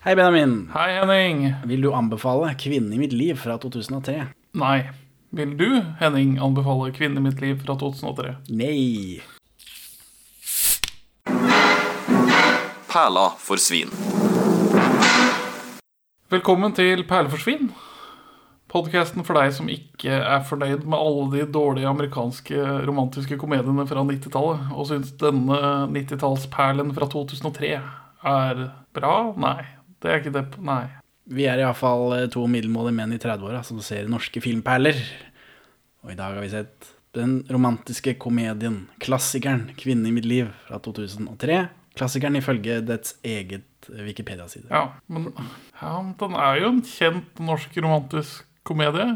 Hei, Benjamin. Hei, Henning. Vil du anbefale 'Kvinnen i mitt liv' fra 2003? Nei. Vil du, Henning, anbefale 'Kvinnen i mitt liv' fra 2003? Nei. Perla for svin. Velkommen til Perleforsvinn. Podkasten for deg som ikke er fornøyd med alle de dårlige amerikanske romantiske komediene fra 90-tallet, og syns denne 90-tallsperlen fra 2003 er bra? Nei. Det er ikke det Nei. Vi er iallfall eh, to middelmådige menn i 30-åra som ser norske filmperler. Og i dag har vi sett den romantiske komedien, klassikeren 'Kvinnen i mitt liv' fra 2003. Klassikeren ifølge dets eget Wikipedia-side. Ja, men ja, men den er jo en kjent norsk romantisk komedie.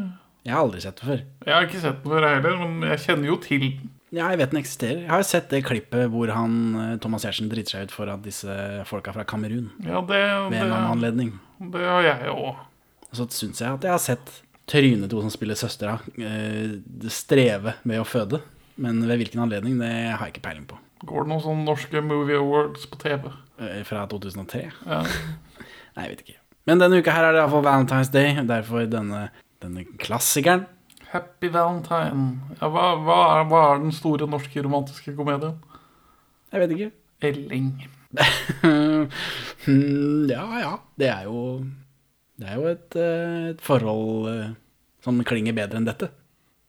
Jeg har aldri sett det før. Jeg har ikke sett den før jeg heller, men jeg kjenner jo til den. Ja, jeg vet den eksisterer. Jeg har sett det klippet hvor han, eh, Thomas Giertsen driter seg ut foran disse folka fra Kamerun. Ja, det, Ved en eller annen det, anledning. det har jeg òg. Og så syns jeg at jeg har sett trynet til hun som spiller søstera, eh, streve ved å føde. Men ved hvilken anledning, det har jeg ikke peiling på. Går det noen sånne norske movie awards på TV? Eh, Fra 2003? Ja. Nei, jeg vet ikke. Men denne uka her er det iallfall Valentine's Day, derfor denne, denne klassikeren. Happy Valentine. Ja, hva, hva, er, hva er den store norske romantiske komedien? Jeg vet ikke. Elling. Hmm, ja ja, det er jo Det er jo et, eh, et forhold eh, som klinger bedre enn dette.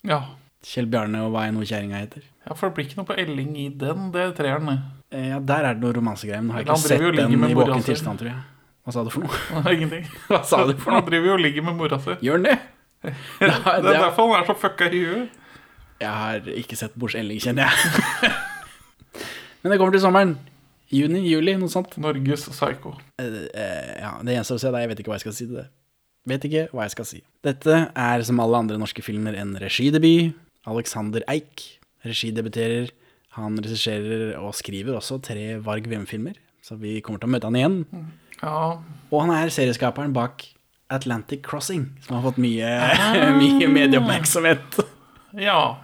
Ja. Kjell Bjarne og hva enn hun kjerringa heter. ja, for det blir ikke noe på Elling i den, det treeren. det. Eh, Ja, Der er det noe romansegreier, men har jeg Han ikke driver sett jo og ligger den med i mora våken si. tilstand, tror jeg. Hva sa du for noe? Det er Ingenting. Hva sa du for noe? Han driver jo og ligger med mora si. Gjør den det? Det Nei, er det er, derfor han er så fucka i huet. jeg har ikke sett Bors Elling, kjenner jeg. Men det kommer til sommeren. Juni, juli, noe sånt. Norges psyko. Eh, Ja, det gjenstår å se. da. Jeg vet ikke hva jeg skal si til det. Vet ikke hva jeg skal si. Dette er som alle andre norske filmer en regidebut. Alexander Eik regidebuterer. Han regisserer og skriver også tre Varg Vem-filmer, så vi kommer til å møte han igjen. Ja, Og han er serieskaperen bak Atlantic Crossing, som har fått mye, mye medieoppmerksomhet. ja.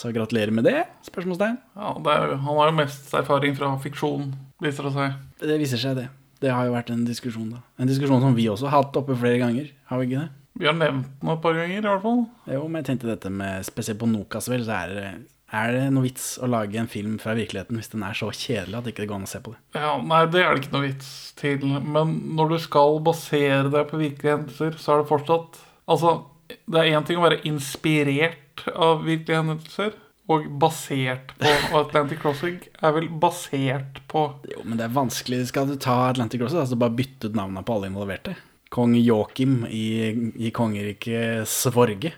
Så gratulerer med det, spørsmålstegn. ja det er, jo- han har jo mest erfaring fra fiksjon, viser det seg. Det viser seg, det. Det har jo vært en diskusjon, da. En diskusjon som vi også har hatt oppe flere ganger, har vi ikke det? Vi har nevnt den et par ganger, i hvert fall. Jo, men jeg tenkte dette med Spesielt på Nokas, vel, så er det, er det noe vits å lage en film fra virkeligheten hvis den er så kjedelig at det ikke går an å se på det. Ja, Nei, det er det ikke noe vits til. Men når du skal basere deg på virkelige hendelser, så er det fortsatt Altså, det er én ting å være inspirert av virkelige hendelser, og basert på Og Atlantic Crossing er vel basert på Jo, men det er vanskelig. Skal du ta Atlantic Cross, altså bare bytte ut navnene på alle involverte? Kong Joakim i, i kongeriket Svorge.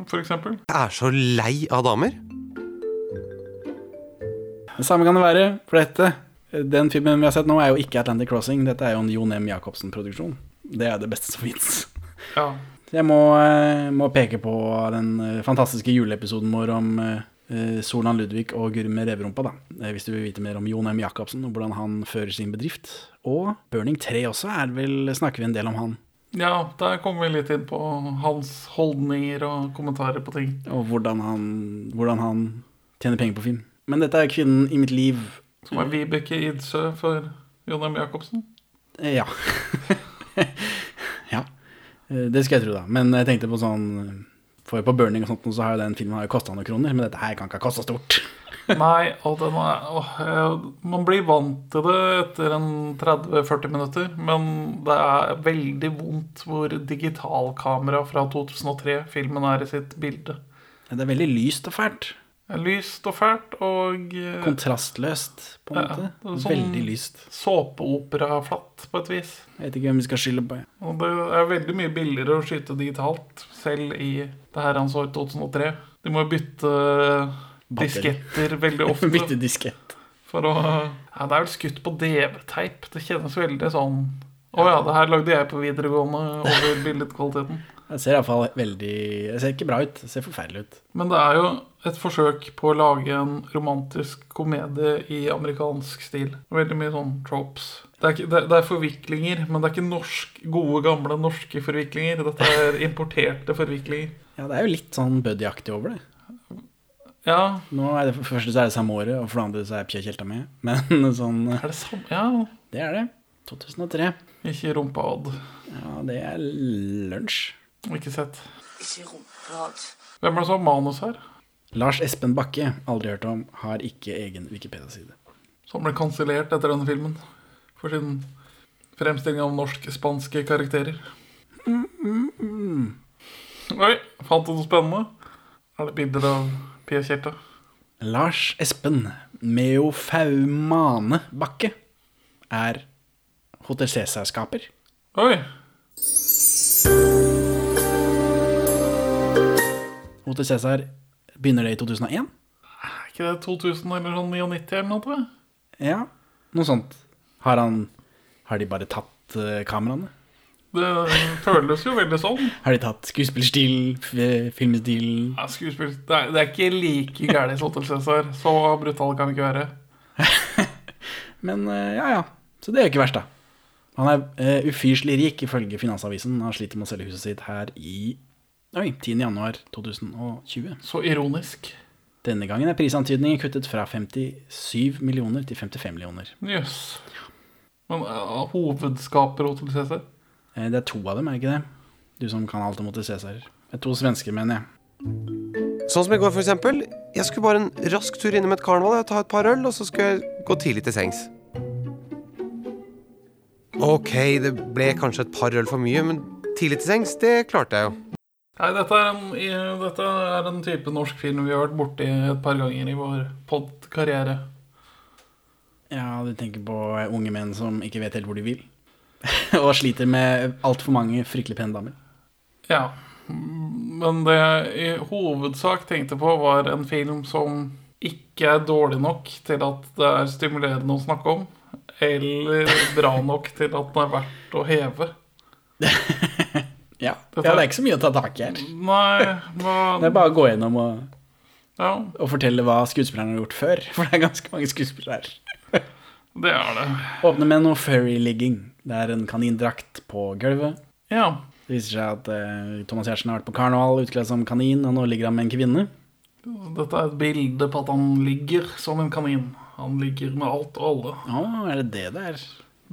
f.eks. Jeg er så lei av damer. Det samme kan det være for dette. Den filmen vi har sett nå, er jo ikke Atlantic Crossing. Dette er jo en Jon M. Jacobsen-produksjon. Det er det beste som fins. Ja. Jeg må, eh, må peke på den eh, fantastiske juleepisoden vår om eh, Solan Ludvig og Gurme Reverumpa, da. Eh, Hvis du vil vite mer om Jon M. Jacobsen og hvordan han fører sin bedrift. Og Burning 3 også, er det vel, snakker vi en del om han. ja, der kommer vi litt inn på hans holdninger og kommentarer på ting. Og hvordan han, hvordan han tjener penger på film. Men dette er kvinnen i mitt liv. Som er Vibeke Idsøe for Jon M. Jacobsen. Eh, Ja. ja. Eh, Det skal jeg tro, da. Men jeg tenkte på sånn eh, For på Burning og sånt, så har jo den filmen har jo kosta noen kroner, men dette her kan ikke ha kosta stort. Nei, og den er, åh, jeg- man blir vant til det etter en 30-40 minutter, men det er veldig vondt hvor digitalkamera fra 2003-filmen er i sitt bilde. Ja, Det er veldig lyst og fælt. Det er Lyst og fælt og eh, Kontrastløst, på en Ja, måte. det er sånn- Veldig lyst. såpeoperaflatt på et vis. Jeg vet ikke hvem vi skal skylde på. jeg. Og det er veldig mye billigere å skyte digitalt, selv i det her han så i 2003. De må jo bytte Batteri. disketter veldig ofte. Bytte diskett. For å Ja, det er vel skutt på DV-teip. Det kjennes veldig sånn Å ja, det her lagde jeg på videregående over billedkvaliteten. Jeg ser iallfall veldig Jeg ser ikke bra ut. Jeg ser forferdelig ut. Men det er jo et forsøk på å lage en romantisk komedie i amerikansk stil. Veldig mye sånn tropes. Det er, ikke, det, det er forviklinger, men det er ikke norsk, gode, gamle norske forviklinger. Dette er importerte forviklinger. Ja, det er jo litt sånn buddy-aktig over det. Ja, Nå er det For det første så er det samme året, og for det andre så er Pia Tjelta med. Men sånn eh, er det samme Ja, Det er det. 2003. Ikke rumpead. Ja, det er lunsj. Ikke sett. Ikke rumpehatt. Hvem er det som har manus her? Lars Espen Bakke, aldri hørt om, har ikke egen Wikipedia-side. Som ble kansellert etter denne filmen for sin fremstilling av norsk-spanske karakterer. Oi, fant du noe spennende? Er det bilder av Pia Kjerta? Lars Espen Meofaumane Bakke er Hotel Cæsar-skaper. Oi! Hotel Cæsar begynner det i 2001? Er ikke det 2000 eller sånn 99 eller noe? tror jeg? Ja, noe sånt. Har han Har de bare tatt eh, kameraene? Det føles jo veldig sånn. Har de tatt skuespillerstilen, f- eh, filmstilen Ja, skuespill det er, det er ikke like gærent som Hotel Cæsar. Så brutal kan det ikke være. Men eh, ja, ja. Så det er jo ikke verst, da. Han er eh, ufyselig rik, ifølge Finansavisen. Han sliter med å selge huset sitt her i Oi, 10.10.2020. Så ironisk. Denne gangen er prisantydningen kuttet fra 57 millioner til 55 millioner. Jøss. Yes. Men ja, hovedskaper Hotel Cæsar? Eh, Det er to av dem, er det ikke det? Du som kan alt om Hotel Cæsar. Det er to svensker, mener jeg. Sånn som i går, for eksempel. Jeg skulle bare en rask tur innom et karneval og ta et par øl, og så skulle jeg gå tidlig til sengs. Ok, det ble kanskje et par øl for mye, men tidlig til sengs, det klarte jeg jo. Nei, dette er, en, i, dette er en type norsk film vi har vært borti et par ganger i vår podkarriere. Ja, du tenker på unge menn som ikke vet helt hvor de vil. og sliter med altfor mange fryktelig pene damer. Ja. Men det jeg i hovedsak tenkte på, var en film som ikke er dårlig nok til at det er stimulerende å snakke om, eller bra nok til at den er verdt å heve. Ja, ja det er ikke så mye å ta tak i her. Nei, Det hva er bare å gå gjennom og, Ja, og fortelle hva skuespillerne har gjort før. For det er ganske mange skuespillere her. det er det. Åpne med noe furry-ligging. Det er en kanindrakt på gulvet. Ja. Det viser seg at eh, Thomas Giertsen har vært på karneval utkledd som kanin, og nå ligger han med en kvinne. Dette er et bilde på at han ligger som en kanin. Han ligger med alt og alle. Å, er det det det er?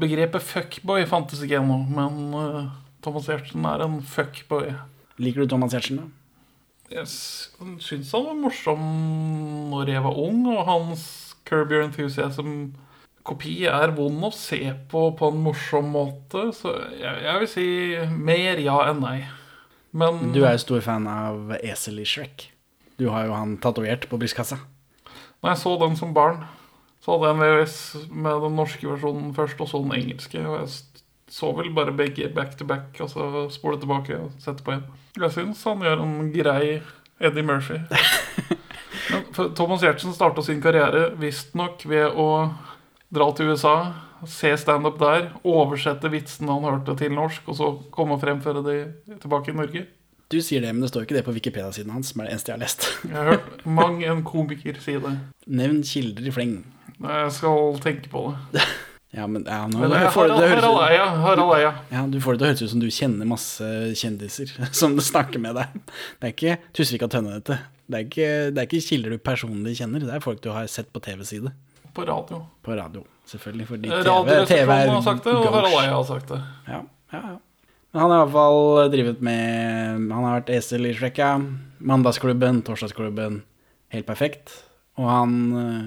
Begrepet fuckboy fantes ikke ennå, men eh, Thomas Giertsen er en fuckboy. Liker du Thomas Giertsen, da? Jeg s- syns han var morsom når jeg var ung, og hans Curb Your Enthusiasm-kopi er vond å se på på en morsom måte, så jeg, jeg vil si mer ja enn nei. Men Du er jo stor fan av Esel i Shrek. Du har jo han tatovert på brystkassa. Når jeg så den som barn, så hadde jeg en VHS med den norske versjonen først, og så den engelske. Og jeg s- så vel bare begge back to back, og så spole tilbake og sette på igjen. Jeg syns han gjør en grei Eddie Murphy. Men for Thomas Giertsen starta sin karriere visstnok ved å dra til USA, se standup der, oversette vitsene han hørte til norsk, og så komme og fremføre de tilbake i Norge. Du sier det, men det står ikke det på Wikipedia-siden hans, som er det eneste jeg har lest. Jeg har hørt mang en komiker si det. Nevn kilder i fleng. Jeg skal tenke på det. Ja, men ja, nå, Men det, får, Harald, det Harald høres, Eia. Harald Eia. ja, du får det til å høres ut som du kjenner masse kjendiser som du snakker med deg. Det er ikke Tusvik og Tønne, dette. Det er, ikke, det er ikke kilder du personlig kjenner, det er folk du har sett på TV-side. På radio. På radio, selvfølgelig. Fordi TV, TV Eh, Radioresepsjonen er har sagt det, og gauche. Harald Eia har sagt det. Ja, ja, ja. Men han har iallfall drevet eh, med Han har vært esel i Shrek, ja. Mandagsklubben, torsdagsklubben. Helt perfekt. Og han eh,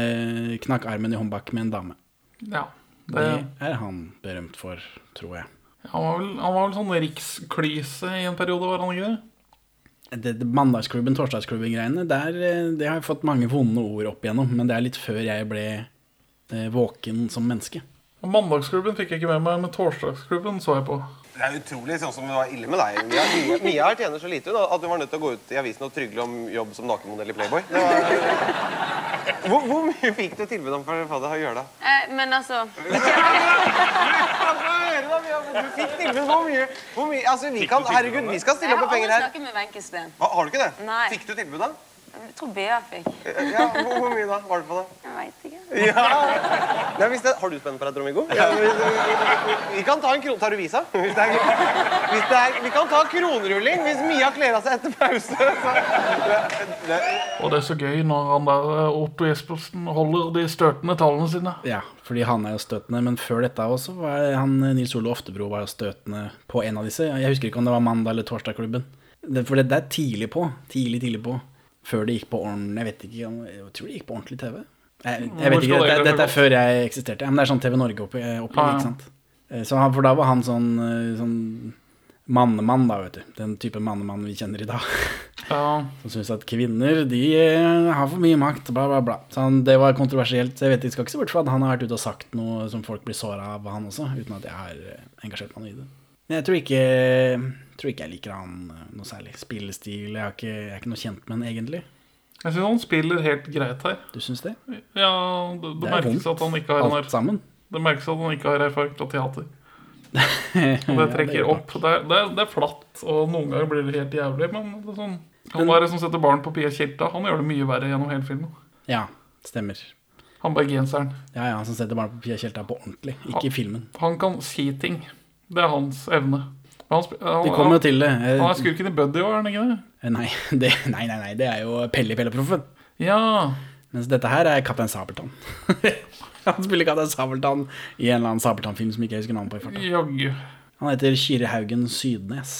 eh, knakk armen i håndbak med en dame. Ja. Det, Det er han berømt for, tror jeg. han, var vel, han var vel sånn riksklyse i en periode, var han ikke det? Det, det mandagsklubben, torsdagsklubben-greiene, der, eh, det har jeg fått mange vonde ord opp igjennom. Men det er litt før jeg ble eh, våken som menneske. Og Mandagsklubben fikk jeg ikke med meg, men Torsdagsklubben så jeg på. Det er utrolig sånn som det var ille med deg. Mia, Mia, Mia her tjener så lite hun, at hun var nødt til å gå ut i avisen og trygle om jobb som nakenmodell i Playboy. Det var... hvor, hvor mye fikk du tilbud om for fader å gjøre det? Eh, men altså Du fikk tilbud hvor mye? Hvor mye? Altså, vi kan, herregud, vi skal stille Jeg opp har aldri med penger her. snakket med Wenche Steen. Hva, har du ikke det? Nei. Fikk du tilbud da? Jeg tror Bea fikk. Eh, Ja, hvor, hvor mye da? Var det på det? Jeg veit ikke. Ja. Nei, hvis det, har du spenn på deg, Dromigo? Ja, vi, vi, vi kan ta en kron... Tar du visa? Hvis det er, hvis det er, vi kan ta kronrulling hvis Mia kler av seg etter pause. Så. Det, det, Og det er så gøy når han der eh, Otto Jespersen holder de støtende tallene sine. Ja, fordi han er jo støtende, men før dette også var han Nils Ole Oftebro var jo støtende på en av disse. Jeg husker ikke om det var mandag eller torsdagklubben. Det- For det det er tidlig på. Tidlig, tidlig på. Før det gikk på ordentlig Jeg vet ikke, om- jeg tror det gikk på ordentlig TV. Jeg, jeg vet Hvor skal ikke, det dette, egentlig dette er før jeg eksisterte. Ja, Men det er sånn TV Ja, Norge-opplegg, ja. ikke sant. Eh, Så han, for da var han sånn, eh, sånn mannemann, da, vet du. Den type mannemann vi kjenner i dag. Ja, Som syns at kvinner de eh, har for mye makt, bla, bla, bla. Så han, det var kontroversielt. så Jeg vet, jeg skal ikke se bort fra at han har vært ute og sagt noe som folk blir såra av, han også. Uten at jeg har eh, engasjert meg noe i det. Men jeg tror ikke, tror ikke jeg liker han eh, noe særlig. Spillestil Jeg, har ikke, jeg er ikke noe kjent med han egentlig. jeg syns han spiller helt greit her. Du syns det? Ja, Det, det, Det er merkes vondt, at han ikke har en Alt erf- sammen. det merkes at han ikke har erfaring fra teater. Og det det trekker opp. Det er, det, er, det er flatt, og noen ganger blir det helt jævlig. Men det er sånn han der som setter barn på Pia Kjelta, han gjør det mye verre gjennom hele filmen. Ja, stemmer. Han bergenseren. Ja, ja, han som setter barna på Pia Kjelta på ordentlig, ikke i filmen. Han kan si ting. Det er hans evne. Men Han, sp- han, De kommer jo han, til det. Eh, han er skurken i Buddy òg, er han ikke det? Nei, det, nei, nei, nei, det er jo Pelle i Pelleproffen. Ja. Mens dette her er Kaptein Sabeltann. han spiller Kaptein Sabeltann i en eller annen Sabeltann-film som ikke jeg husker navnet på. i farta. Jaggu. Han heter Kyrre Haugen Sydnes.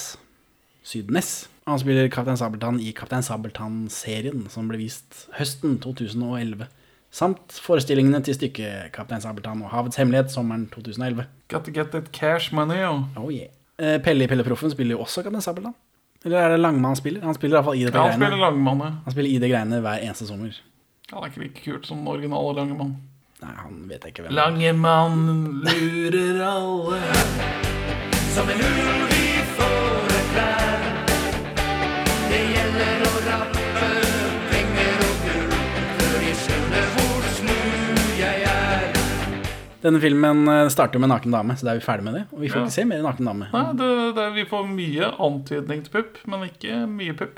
Sydnes. Han spiller Kaptein Sabeltann i Kaptein Sabeltann-serien som ble vist høsten 2011. Samt forestillingene til stykket Kaptein Sabeltann og Havets hemmelighet sommeren 2011. Got to get that cash money, jo. Oh yeah. Eh, Pelle i Pelleproffen spiller jo også Kaptein Sabeltann. Eller er det Langmann han spiller? Han spiller iallfall i dette Ja, han spiller greiene. langmann. ja. Han spiller i det greiene hver eneste sommer. Han er ikke like kult som den originale Langemann. Nei, han vet jeg ikke hvem er. Langemann lurer alle. Denne filmen eh, starter med en naken dame, så da er vi ferdig med det. Og vi får ikke se mer naken dame. Nei, det, det, vi får mye antydning til pupp, men ikke mye pupp.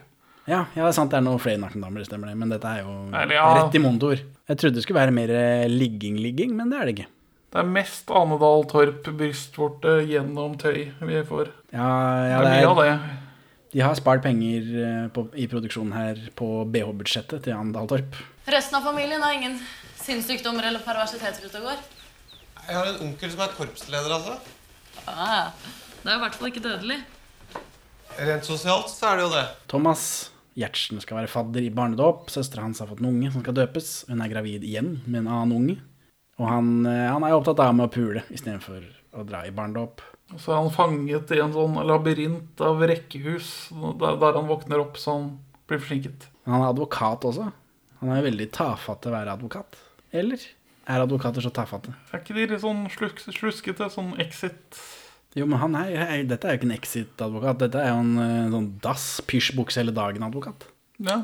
Ja, ja, det er sant, det er noen flere nakne damer, det stemmer det. Men dette er jo Eller ja. rett i monitor. Jeg trodde det skulle være mer eh, ligging-ligging, men det er det ikke. Det er mest Anedal Torp brystvorte gjennom tøy vi får. Ja, ja, Det er det mye av er, det. de har spart penger eh, på, i produksjonen her på BH-budsjettet til Andal Torp. Resten av familien har ingen sinnssykdommer eller perversiteter ute og går. jeg har en onkel som er korpsleder, altså. Ah, det er i hvert fall ikke dødelig. Rent sosialt så er det jo det. Thomas Gjertsen skal være fadder i barnedåp. Søstera hans har fått en unge som skal døpes. Hun er gravid igjen med en annen unge. Og han, eh, han er jo opptatt av med å pule istedenfor å dra i barnedåp. Og så er han fanget i en sånn labyrint av rekkehus, der, der han våkner opp så han blir forsinket. Men han er advokat også. Han er jo veldig tafatt til å være advokat. Eller er advokater så tafatte? Er ikke de litt sånn sluk, sluskete, sånn exit Jo, men han er, er Dette er jo ikke en exit-advokat. Dette er jo en eh, sånn dass, pysjbukse hele dagen-advokat. Ja.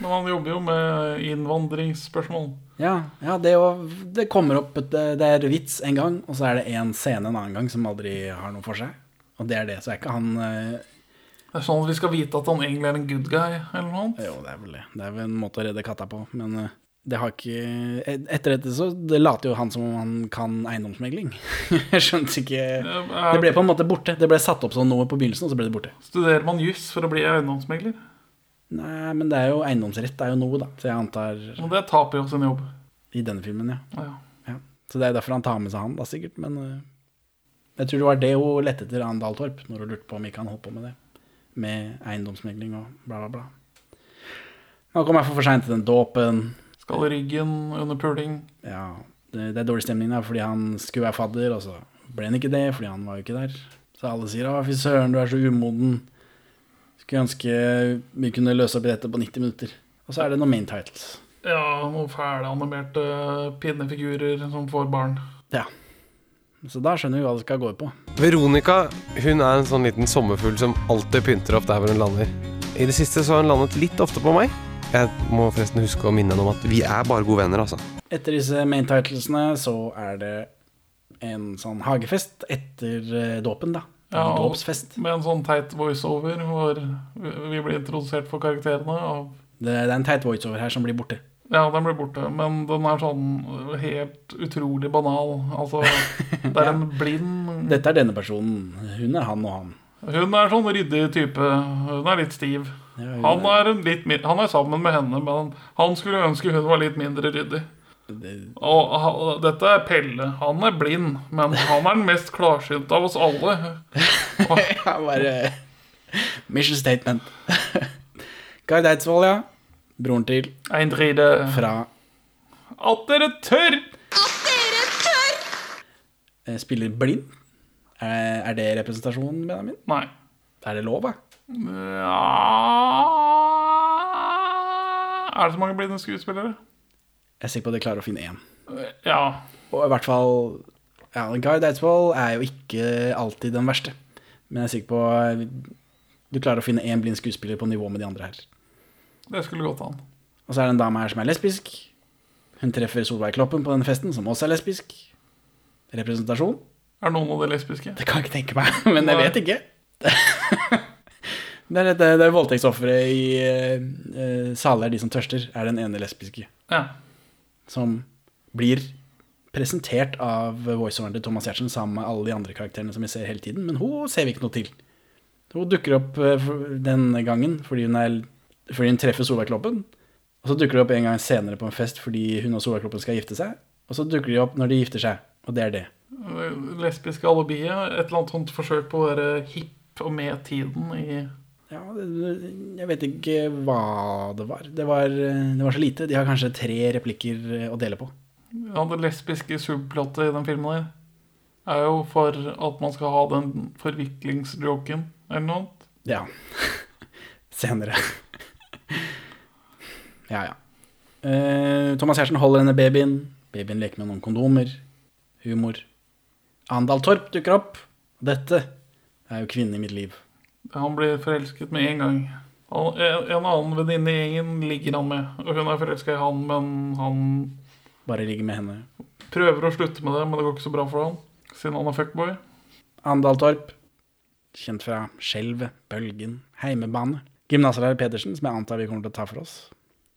Men han jobber jo med innvandringsspørsmål. Ja, ja det, er jo, det kommer opp et- det, det er vits en gang, og så er det en scene en annen gang som aldri har noe for seg. Og det er det. Så er ikke han eh, Det er sånn at vi skal vite at han egentlig er en good guy, eller noe annet. Jo, det er vel det. Det er vel en måte å redde katta på, men eh, det har ikke et- Etter dette så det later jo han som om han kan eiendomsmegling. Jeg skjønte ikke Eh, Det ble på en måte borte. Det ble satt opp som noe på begynnelsen, og så ble det borte. Studerer man juss for å bli eiendomsmegler? Nei, men det er jo eiendomsrett er jo noe, da. Så jeg antar Men det taper jo sin jobb. i denne filmen, ja. Ja. ja. Så det er derfor han tar med seg han, da, sikkert. Men eh, jeg tror det var det hun lette etter Ann Dahl Torp, når hun lurte på om ikke han holdt på med det. Med eiendomsmegling og bla, bla, bla. Han kom iallfall for seint til den dåpen. Skal i ryggen under puling. Ja, det, det er dårlig stemning der fordi han skulle være fadder, og så ble han ikke det fordi han var jo ikke der. Så alle sier 'Å, fy søren, du er så umoden'. Skulle ønske vi kunne løse opp i dette på 90 minutter. Og så er det noen main titles. Ja, noen fæle animerte pinnefigurer som får barn. Ja. Så da skjønner vi hva det skal gå ut på. Veronica hun er en sånn liten sommerfugl som alltid pynter opp der hvor hun lander. I det siste så har hun landet litt ofte på meg. Jeg må forresten huske å minne henne om at vi er bare gode venner, altså. Etter disse main titlesene så er det en sånn hagefest etter eh, dåpen, da. Ja, og Dåpsfest. med en sånn teit voiceover hvor vi vi blir introdusert for karakterene av Det, det er en teit voiceover her som blir borte. Ja, den blir borte, men den er sånn helt utrolig banal. Altså, det er en blind Dette er denne personen. Hun er han og han. Hun er sånn ryddig type. Hun er litt stiv. Ja, hun Han er, en litt, min- han er sammen med henne, men han skulle ønske hun var litt mindre ryddig. Og ha- dette er Pelle. Han er blind, men han er den mest klarsynte av oss alle. Ja, bare eh, Mission statement. Guy Deidsvold, ja. Broren til. En dride Fra At dere tør! eh, spiller blind. Er, er det representasjonen, Benjamin? Nei. Er det lov, da? Ja. Er det så mange blinde skuespillere? Jeg er sikker på at jeg klarer å finne én. Ja. Og i hvert fall ja, Guy Deidsvold er jo ikke alltid den verste. Men jeg er sikker på eh, du klarer å finne én blind skuespiller på nivå med de andre her. Det skulle gått an. Og så er det en dame her som er lesbisk. Hun treffer Solveig Kloppen på denne festen, som også er lesbisk. Representasjon? Er noen av de lesbiske? Det kan jeg ikke tenke meg, men jeg Nei. vet ikke. det er, dette- det er voldtektsofferet i eh, eh, Saler de som tørster, er den ene lesbiske. Ja. Som blir presentert av voiceoveren til Thomas Giertsen sammen med alle de andre karakterene som vi ser hele tiden, men hun ser vi ikke noe til. Hun dukker opp eh, for- denne gangen fordi hun, er, fordi hun treffer Solveig Kloppen. Og så dukker de opp en gang senere på en fest fordi hun og Solveig Kloppen skal gifte seg. Og så dukker de opp når de gifter seg, og det er det. Lesbiske alibiet. Et eller annet sånt forsøk på å være hipp og med tiden i Ja, det- jeg vet ikke hva det var. Det var, eh, det var så lite. De har kanskje tre replikker eh, å dele på. Ja, det lesbiske subplottet i den filmen der er jo for at man skal ha den forviklingsjoken eller noe annet. Ja. Senere. Ja, ja. Eh, Thomas Giertsen holder denne babyen. Babyen leker med noen kondomer. Humor. Andal Torp dukker opp. Dette er jo kvinnen i mitt liv. Han blir forelsket med en gang. Han, en, en annen venninne i gjengen ligger han med, og hun er forelska i han, men han Bare ligger med henne. prøver å slutte med det, men det går ikke så bra for han, siden han er fuckboy. Andal Torp, kjent fra Skjelvet, Bølgen, Heimebane. Gymnaslærer Pedersen, som jeg antar vi kommer til å ta for oss.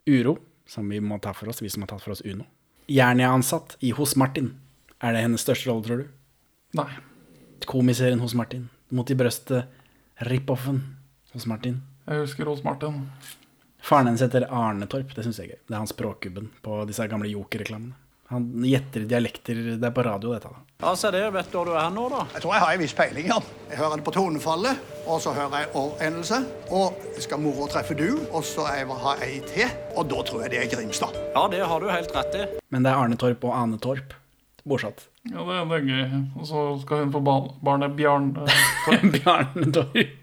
Uro, som vi må ta for oss, vi som har tatt for oss Uno. Jernia-ansatt i Hos Martin. Er det hennes største rolle, tror du? Nei. Komiserien Hos Martin. Mot i brøstet, rip-offen Hos Martin. Jeg husker Rolf Martin. Faren hennes heter Arne Torp, det syns jeg er gøy. Det er han språkkubben på disse gamle Joker-reklamene. Han gjetter dialekter, det er på radio dette. da. Ja, se der. Vet du hva du er nå, da? Jeg tror jeg har en viss peiling, ja. Jeg hører det på tonefallet, og så hører jeg årendelse. Og skal mora treffe du, og så jeg vil ha ei til. Og da tror jeg det er Grimstad. Ja, det har du helt rett i. Men det er Arne Torp og Ane Torp. Bortsatt. Ja, det, det er gøy. Og så skal hun få ba barnet Bjarne. Bjarne Torp.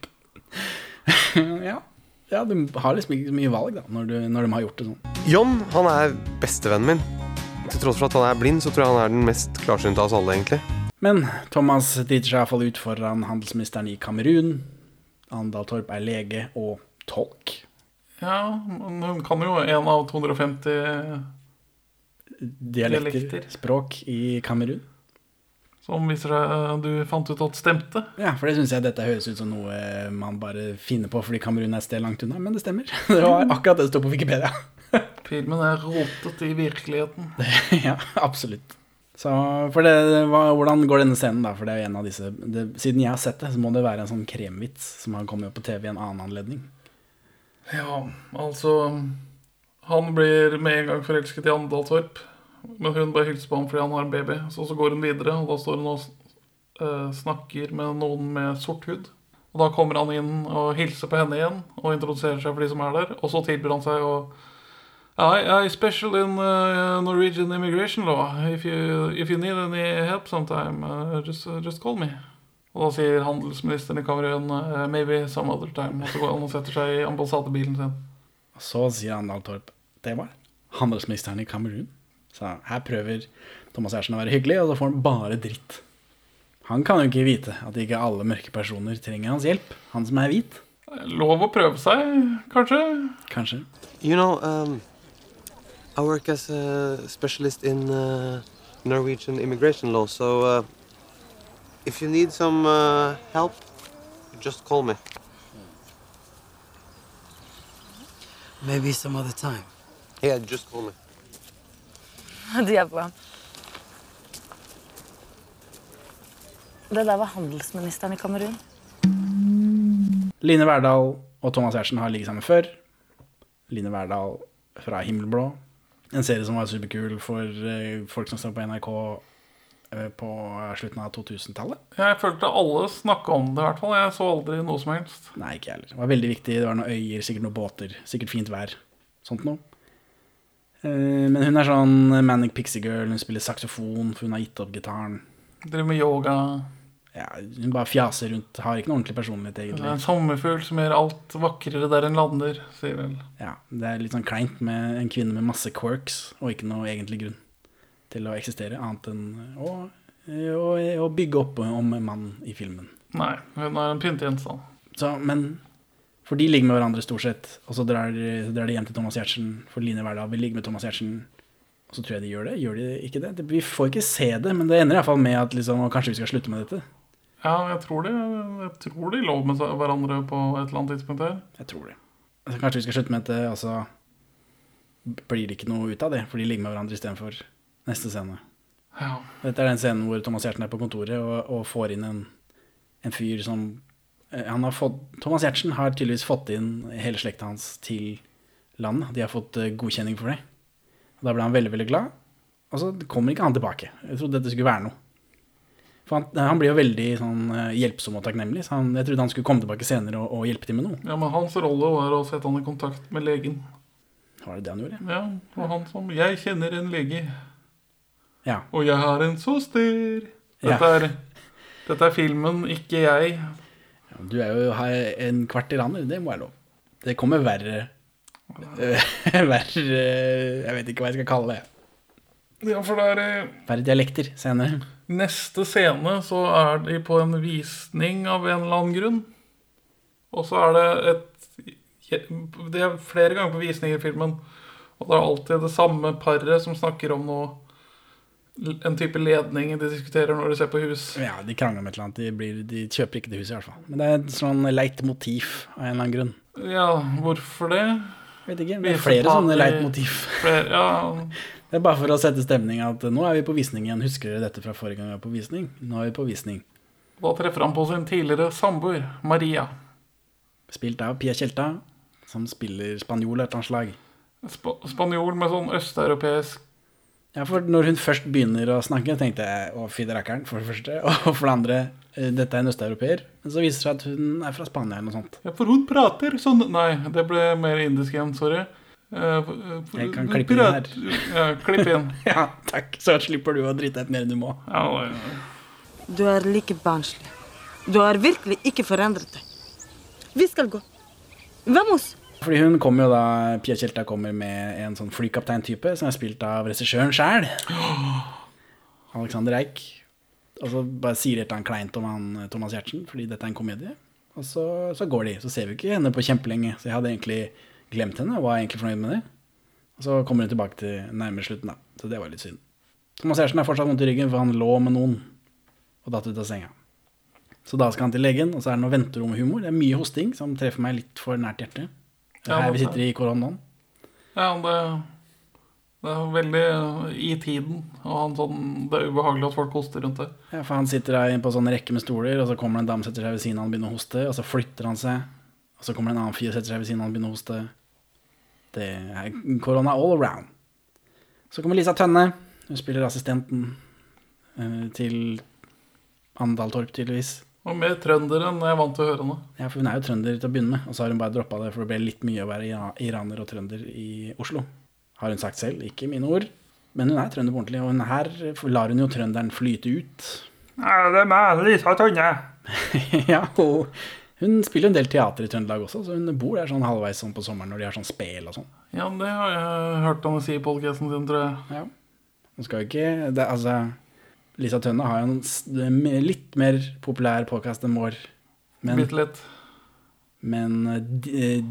ja. ja, du har liksom ikke så mye valg da, når, du, når de har gjort det sånn. John han er bestevennen min. Til tross for at han er blind, så tror jeg han er den mest klarsynte av oss alle. egentlig Men Thomas driter seg iallfall ut foran handelsministeren i Kamerun. Andal Torp er lege og tolk. Ja, men hun kan jo en av 250 Dialekter, Dialekter. språk, i Kamerun. som viser seg du fant ut at stemte. Ja, for det syns jeg dette høres ut som noe eh, man bare finner på fordi Kamerun er et sted langt unna, men det stemmer. Det var akkurat det det sto på Wikipedia. Filmen er rotet i virkeligheten. ja, absolutt. Så, for det, hva, hvordan går denne scenen, da? For det er jo en av disse det, Siden jeg har sett det, så må det være en sånn kremvits som har kommet opp på TV i en annen anledning. Ja, altså Han blir med en gang forelsket i Andal Torp. Men hun bare hilser på ham fordi han har en baby. Så, så går hun videre, og da står hun og eh, snakker med noen med sort hud. Og da kommer han inn og hilser på henne igjen og introduserer seg for de som er der. Og så tilbyr han seg å I, I special in eh, Norwegian immigration law. If you, if you need any help sometime, eh, just, just call me. Og da sier handelsministeren i Kamerun eh, 'maybe some other time'. Og så går han og setter seg i ambassadebilen sin. Og så sier Andal Torp det var handelsministeren i Kamerun. Så her prøver Thomas Giertsen å være hyggelig, og så får han bare dritt. Han kan jo ikke vite at ikke alle mørke personer trenger hans hjelp. Han som er hvit, Lov å prøve seg, kanskje? kanskje. You know, um, I work as a specialist in uh, Norwegian immigration law, so uh, if you need some uh, help, just call me. Maybe some other time. Yeah, just call me. Det er bra. Det der var handelsministeren i Kamerun. Line Verdal og Thomas Giertsen har ligget sammen før. Line Verdal fra Himmelblå. En serie som var superkul for eh, folk som står på NRK eh, på slutten av 2000-tallet. Jeg følte alle snakka om det, i hvert fall. Jeg så aldri noe som helst. Nei, ikke jeg heller. Det var veldig viktig. Det var noen øyer, sikkert noen båter, sikkert fint vær. Sånt noe. Eh, Men hun er sånn manic pixie girl. Hun spiller saksofon, for hun har gitt opp gitaren. Driver med yoga. Ja, hun bare fjaser rundt. Har ikke noe ordentlig personlighet, Det egentlig. er en sommerfugl som gjør alt vakrere der en lander, sier vel. Ja, det er litt sånn kleint med en kvinne med masse quirks og ikke noe egentlig grunn til å eksistere, annet enn å, å, å bygge opp om en mann i filmen. Nei, hun er en pyntegjenstand. Så, men For de ligger med hverandre stort sett, og så drar, så drar de hjem til Thomas Giertsen, for Line Verdal vil ligge med Thomas Giertsen. Og så tror jeg de gjør det. Gjør de ikke det? Det- Vi får ikke se det, men det ender iallfall med at liksom, «Å, kanskje vi skal slutte med dette. Ja, jeg tror de, jeg tror de lå med seg- hverandre på et eller annet tidspunkt her. Jeg tror det. Altså, kanskje vi skal slutte med dette, og så blir det ikke noe ut av det, for de ligger med hverandre istedenfor neste scene. Ja. Dette er den scenen hvor Thomas Giertsen er på kontoret og, og får inn en, en fyr som eh, han har fått, Thomas Giertsen har tydeligvis fått inn hele slekta hans til landet. De har fått eh, godkjenning for det. Og da ble han veldig, veldig glad. Og så kommer ikke han tilbake. Jeg trodde dette skulle være noe. For han, han blir jo veldig sånn, eh, hjelpsom og takknemlig, så han, jeg trodde han skulle komme tilbake senere og, og hjelpe til med noe. ja, men hans rolle var å sette han i kontakt med legen. Var det det han gjorde? Ja, og han som Jeg kjenner en lege, Ja. og jeg har en søster. Ja. Dette er, dette er filmen, ikke jeg. Du er jo her en kvart iraner, det må jeg lov. Det kommer verre Verre Jeg vet ikke hva jeg skal kalle det. Ja, for det er eh, Verre dialekter senere. Neste scene så er de på en visning av en eller annen grunn. Og så er det et Det er flere ganger på visninger i filmen. Og det er alltid det samme paret som snakker om noe En type ledning de diskuterer når de ser på hus. Ja, De krangler om et eller annet. De, blir, de kjøper ikke det huset, i hvert fall. Men det er et sånn leit motiv av en eller annen grunn. Ja, hvorfor det? Jeg vet ikke, Vi Det er får flere ta sånne det- leit motiv. Flere, ja, Det er bare for å sette stemning at nå er vi på visning igjen. Husker dere dette fra forrige gang vi var på visning? Nå er vi på visning. da treffer han på sin tidligere samboer, Maria. Spilt av Pia Tjelta, som spiller spanjol av et eller annet slag. Spa spanjol med sånn østeuropeisk Ja, for når hun først begynner å snakke, tenkte jeg å, fy det rakkeren, for det første. Og for det andre, eh, dette er en østeuropeer. Men så viser det seg at hun er fra Spania eller noe sånt. Ja, for hun prater sånn Nei, det ble mer indisk igjen, sorry. Eh, for- for- Jeg kan hun klippe inn prat- her. Ja, klipp inn. Ja, takk. Så slipper du å drite deg ut mer enn du må. Ja, det- Du er like barnslig. Du har virkelig ikke forandret deg. Vi skal gå. Vamos! Fordi hun kommer jo da, Pia Tjelta kommer med en sånn flykaptein-type, som er spilt av regissøren sjæl. Alexander Eik. Og så bare sier et eller annet kleint om han eh, Thomas Giertsen, fordi dette er en komedie. Og så, så går de. Så ser vi ikke henne på kjempelenge. Så jeg hadde egentlig glemt henne, og var egentlig fornøyd med det. Og så kommer hun tilbake til nærmere slutten, da. Så det var litt synd. Thomas Giertsen har fortsatt vondt i ryggen, for han lå med noen og datt ut av senga. Så da skal han til legen, og så er det noe venteromhumor. Det er mye hosting som treffer meg litt for nært hjertet. Ja, Her men- vi sitter i koronaen. ja det, det er veldig eh, i tiden. Og han sånn, det er ubehagelig at folk hoster rundt det. Ja, for han sitter der på sånn rekke med stoler, og så kommer det en dame setter seg ved siden av han og begynner å hoste, og så flytter han seg, og så kommer det en annen fyr setter seg ved siden av han og begynner å hoste. Det er korona all around. Så kommer Lisa Tønne, hun spiller assistenten eh, til Andal Torp, tydeligvis. Og mer trønder enn jeg er vant til å høre henne. Ja, for hun er jo trønder til å begynne med, og så har hun bare droppa det, for det ble litt mye å være ira- iraner og trønder i Oslo. Har hun sagt selv, ikke mine ord. Men hun er trønder på ordentlig, og hun her lar hun jo trønderen flyte ut. Nei, det er meg, Lisa Tønne. ja, og hun spiller en del teater i Trøndelag også, så hun bor der sånn halvveis sånn på sommeren når de har sånn spel og sånn. Ja, det har jeg hørt henne si i podkasten sin, tror jeg. Ja. Hun skal jo ikke det, Altså, Lisa Tønne har jo en s- me- litt mer populær podkast enn vår, men, Bitte litt. men eh, d- eh,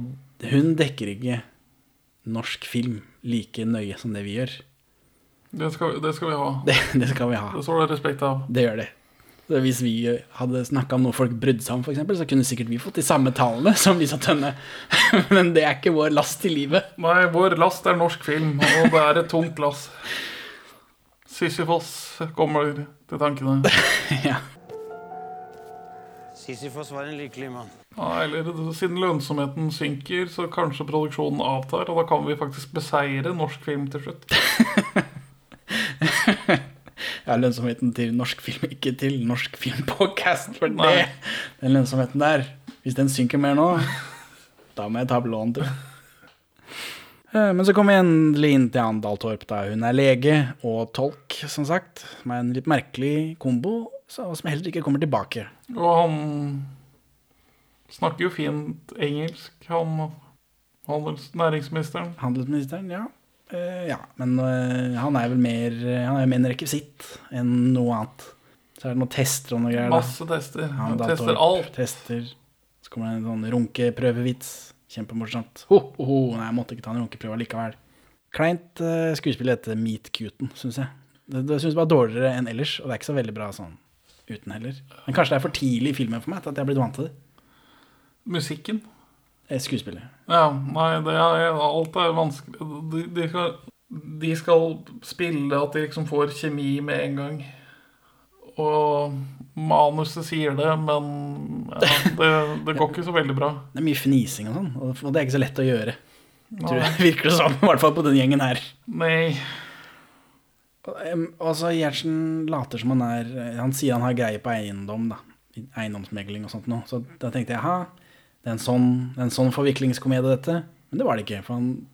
hun dekker ikke norsk film like nøye som det vi gjør. Det skal, vi- det skal vi ha. Det, det skal vi ha. Det står det respekt av. Det gjør det. Så Hvis vi eh, hadde snakka om noe folk brydde seg om, for eksempel, så kunne sikkert vi fått de samme tallene som Lisa Tønne. Men det er ikke vår last i livet. Nei, vår last er norsk film, og det er et tungt lass. Sisyfos kommer til tankene. Ja. Sisyfos var en lykkelig mann. Ja, eller siden lønnsomheten synker, så kanskje produksjonen avtar, og da kan vi faktisk beseire norsk film til slutt. ja, lønnsomheten til norsk film, ikke til norsk filmpodcast, for Nei. det, den lønnsomheten der, hvis den synker mer nå, da må jeg ta opp lån til. Eh, Men så kommer vi endelig inn til Andal Torp, da hun er lege og tolk, som sagt, som er en litt merkelig kombo, så- som heller ikke kommer tilbake. Og han snakker jo fint engelsk, han handels- næringsministeren. Handelsministeren, ja. Eh, ja, men eh, han er vel mer, eh, han er jo mer en rekvisitt enn noe annet. Så er det noen tester og noe greier. da. Masse tester. Han Han da tester tar- alt. Tester. Så kommer det en sånn runkeprøvevits. Kjempemorsomt. Ho, ho, ho. Nei, jeg måtte ikke ta en runkeprøve likevel. Kleint eh, skuespill etter Meet Cuten, syns jeg. Det, det syns jeg var dårligere enn ellers, og det er ikke så veldig bra sånn uten heller. Men kanskje det er for tidlig i filmen for meg til at jeg er blitt vant til det. Musikken. Eh, Skuespillet. Ja, nei, det er, alt er vanskelig. De, de, skal, de skal spille at de liksom får kjemi med en gang. Og manuset sier det, men ja, det, det går ikke så veldig bra. Det er mye fnising og sånn, og og det er ikke så lett å gjøre. Tror Nei. jeg virker det som, i hvert fall på den gjengen her. Nei. Em, Altså, Gjertsen later som han er eh, Han sier han har greie på eiendom, da. Eiendomsmegling og sånt noe. Så da tenkte jeg, ha, det er en sånn, det er en sånn forviklingskomedie, dette. Men det var det ikke. For, han,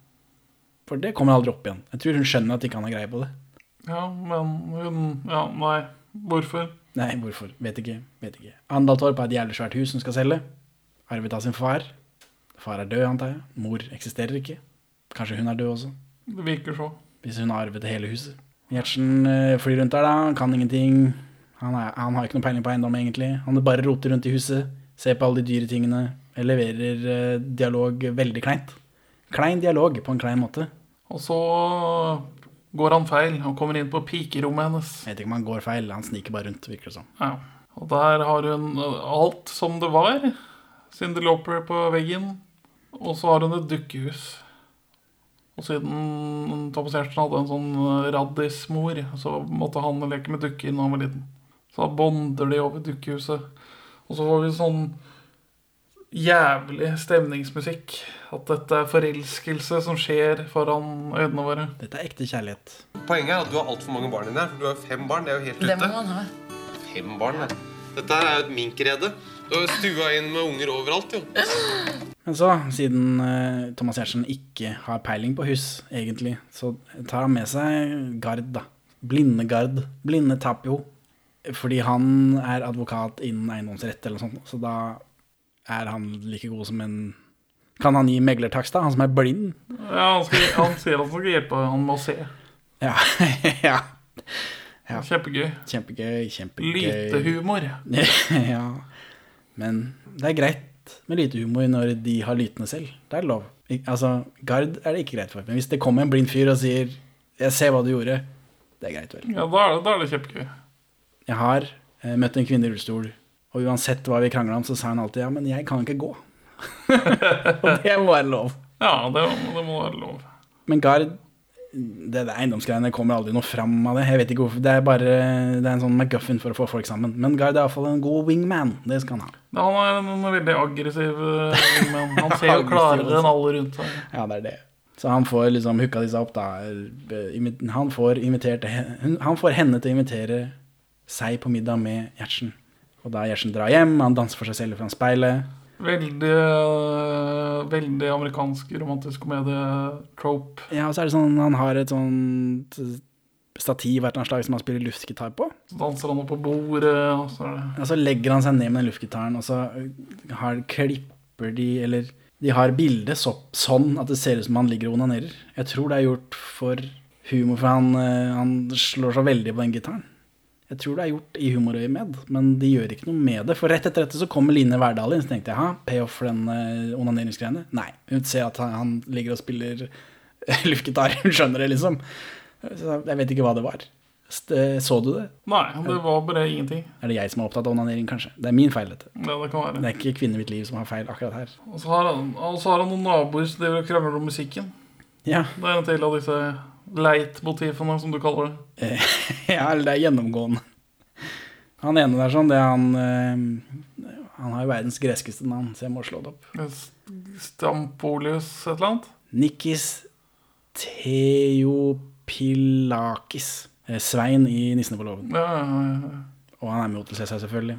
for det kommer aldri opp igjen. Jeg tror hun skjønner at ikke han har greie på det. Ja, men hun Ja, nei. Hvorfor? Nei, hvorfor? Vet ikke. vet ikke. Andal Torp er et jævlig svært hus hun skal selge. Arvet av sin far. Far er død, antar jeg. Mor eksisterer ikke. Kanskje hun er død også. Det virker så. Hvis hun har arvet hele huset. Gjertsen eh, flyr rundt der, da. Han kan ingenting. Han, er, han har ikke noe peiling på eiendom, egentlig. Han bare roter rundt i huset. Ser på alle de dyre tingene. Jeg leverer eh, dialog veldig kleint. Klein dialog på en klein måte. Og så går han feil og kommer inn på pikerommet hennes. Jeg vet ikke om han går feil. Han sniker bare rundt, virker det som. Ja. Og der har hun eh, alt som det var. Cyndi Lauper på veggen. Og så har hun et dukkehus. Og siden Thomas Giertsen hadde en sånn raddismor, så måtte han leke med dukker når han var liten. Så da bonder de over dukkehuset. Og så får vi sånn jævlig stemningsmusikk. At dette er forelskelse som skjer foran øynene våre. Dette er ekte kjærlighet. Poenget er at du har altfor mange barn inni her. For du har jo fem barn. Det er jo helt Det må ute. man ha. Fem barn, det. Dette her er jo et minkrede. Du har jo stua inn med unger overalt, jo. Men så, siden eh, Thomas Giertsen ikke har peiling på hus, egentlig, så tar han med seg Gard, da. Blinde Gard. Blinde Tapio. Fordi han er advokat innen eiendomsrett eller noe sånt, så da er han like god som en Kan han gi meglertakst, da? Han som er blind? Ja, han, skal, han sier at han skal hjelpe, han må se. Ja. ja. Kjempegøy. Kjempegøy, kjempegøy. Lite humor. ja. Men det er greit med lite humor når de har lytene selv. Det er lov. Ik altså, Gard er det ikke greit for. Men hvis det kommer en blind fyr og sier 'Jeg ser hva du gjorde', det er greit, vel. Ja, da er det, da er det kjempegøy. Jeg har eh, møtt en kvinne i rullestol, og uansett hva vi krangla om, så sa hun alltid 'Ja, men jeg kan ikke gå'. og det må være lov. Ja, det, det må være lov. Men Gard det der eiendomsgreiene kommer aldri noe fram av det. Jeg vet ikke hvorfor, Det er bare det er en sånn McGuffin for å få folk sammen. Men Gard er iallfall en god wingman. Det skal han ha. Ja, Han er en, en veldig aggressiv eh, men Han ser jo klarere enn alle rundt seg. Ja, det er det. Så han får liksom hooka disse opp, da. Imi- Han får, invitert, hun- han får henne til å invitere seg på middag med Gjertsen. Og da Gjertsen drar hjem, han danser for seg selv foran speilet. Veldig, eh, veldig amerikansk romantisk komedie-trope. Ja, og så er det sånn, han har et sånt stativ av et eller annet slag som han spiller luftgitar på. Så danser han opp på bordet, og så er det Og så legger han seg ned med den luftgitaren, og så har, klipper de, eller de har bildet så, sånn at det ser ut som han ligger og onanerer. Jeg tror det er gjort for humor, for han, eh, han slår så veldig på den gitaren. Jeg tror det er gjort i humorøyemed, men de gjør ikke noe med det. For rett etter dette så kommer Line Verdal inn, så tenkte jeg, ha, payoff for den eh, onaneringsgreiene? Nei. Hun ser at han, han ligger og spiller luftgitar, hun skjønner det liksom. Så jeg vet ikke hva det var. St- eh, Så du det? Nei, det var bare ingenting. Er det jeg som er opptatt av onanering, kanskje? Det er min feil, dette. Ja, det kan Det være. er ikke kvinner i mitt liv som har feil akkurat her. Og så har han, og så har han noen naboer som driver og krangler om musikken. Ja, Det er en del av disse leitmotivene, som du kaller det. ja eller det er gjennomgående. Han ene der sånn, det er han eh, Han har jo verdens greskeste navn, så jeg må slå det opp. St- Stampolius et eller annet. Nikis Theopilakis. Eh, Svein i 'Nissene på låven'. Ja, ja, ja. Og han er med i Hotel Cæsar, selvfølgelig.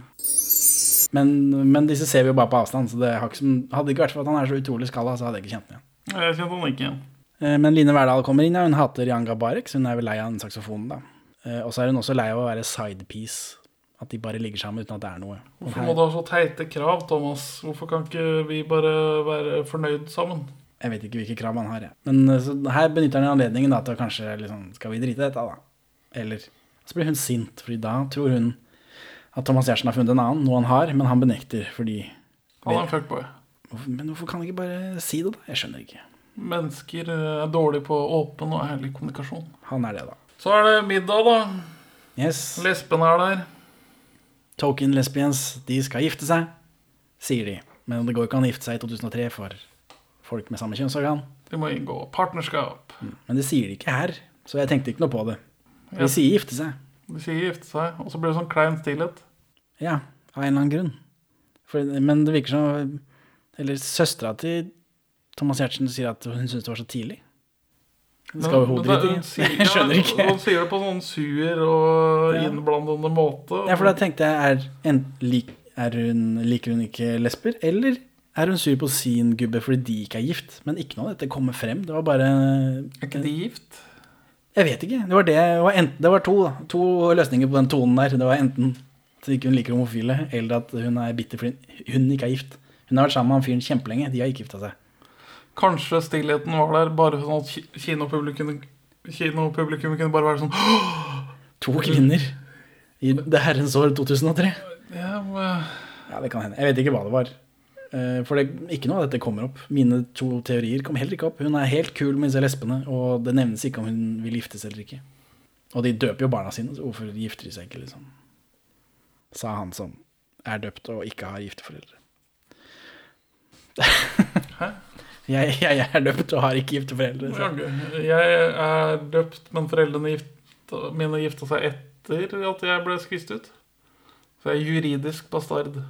Men, men disse ser vi jo bare på avstand, så det har ikke som, hadde det ikke vært for at han er så utrolig skalla, så hadde jeg ikke kjent ham igjen. Jeg kjente han ikke igjen. Eh, Men Line Verdal kommer inn, ja. hun hater Jan Gabarek, så hun er vel lei av den saksofonen, da. Eh, Og så er hun også lei av å være sidepiece. At de bare ligger sammen uten at det er noe. Og Hvorfor må her, du ha så teite krav, Thomas? Hvorfor kan ikke vi bare være fornøyd sammen? jeg vet ikke hvilke krav han har, jeg. Men eh, så her benytter han anledningen da, til å kanskje liksom Skal vi drite i dette, da? Eller Så blir hun sint, fordi da tror hun at Thomas Giertsen har funnet en annen, noe han har, men han benekter fordi Han er en fuckboy. hvorfor, Men hvorfor kan han ikke bare si det, da? Jeg skjønner ikke. Mennesker eh, er dårlige på åpen og ærlig kommunikasjon. Han er det, da. Så er det middag, da. Yes. Lesben er der. Token lesbians, de skal gifte seg, sier de. Men det går ikke an å gifte seg i 2003 for folk med samme kjønnsorgan. De må inngå partnerskap. Men det sier de ikke her, så jeg tenkte ikke noe på det. Ja. De sier gifte seg. De sier gifte seg, og så blir det sånn klein stillhet. Ja, av en eller annen grunn. For, men det virker som Eller søstera til Thomas Giertsen sier at hun syns det var så tidlig. Det skal jo Men- hodet men det- ditt hun i. sier- Jeg skjønner Ja, ikke. hun sier det på sånn sur og Ja. innblandende måte. Ja, for da tenkte jeg er, en, lik, er hun, Liker hun ikke lesber, eller er hun sur på sin gubbe fordi de ikke er gift? Men ikke noe av dette kommer frem. Det var bare Er ikke de gift? Jeg vet ikke. Det var, det, det var, enten, det var to, da. to løsninger på den tonen der. Det var enten at ikke hun liker homofile, eller at hun er bitter fordi hun ikke er gift. Hun har vært sammen med han fyren kjempelenge. De har ikke gifta seg. Kanskje stillheten var der bare sånn at ki- kinopublikum, kinopublikum kunne bare være sånn To kvinner i det herrens år 2003. ja, men, Ja, det kan hende. Jeg vet ikke hva det var. Eh, For det, ikke noe av dette kommer opp. Mine to teorier kom heller ikke opp. Hun er helt kul med disse lesbene, og det nevnes ikke om hun vil giftes eller ikke. Og de døper jo barna sine, så hvorfor gifter de seg ikke, liksom? Sa han som er døpt og ikke har gifteforeldre. Jeg, jeg er døpt og har ikke gifteforeldre. Så. jaggu. Jeg er døpt, men foreldrene gift, mine gifta seg etter at jeg ble skvist ut. Så jeg er juridisk bastard.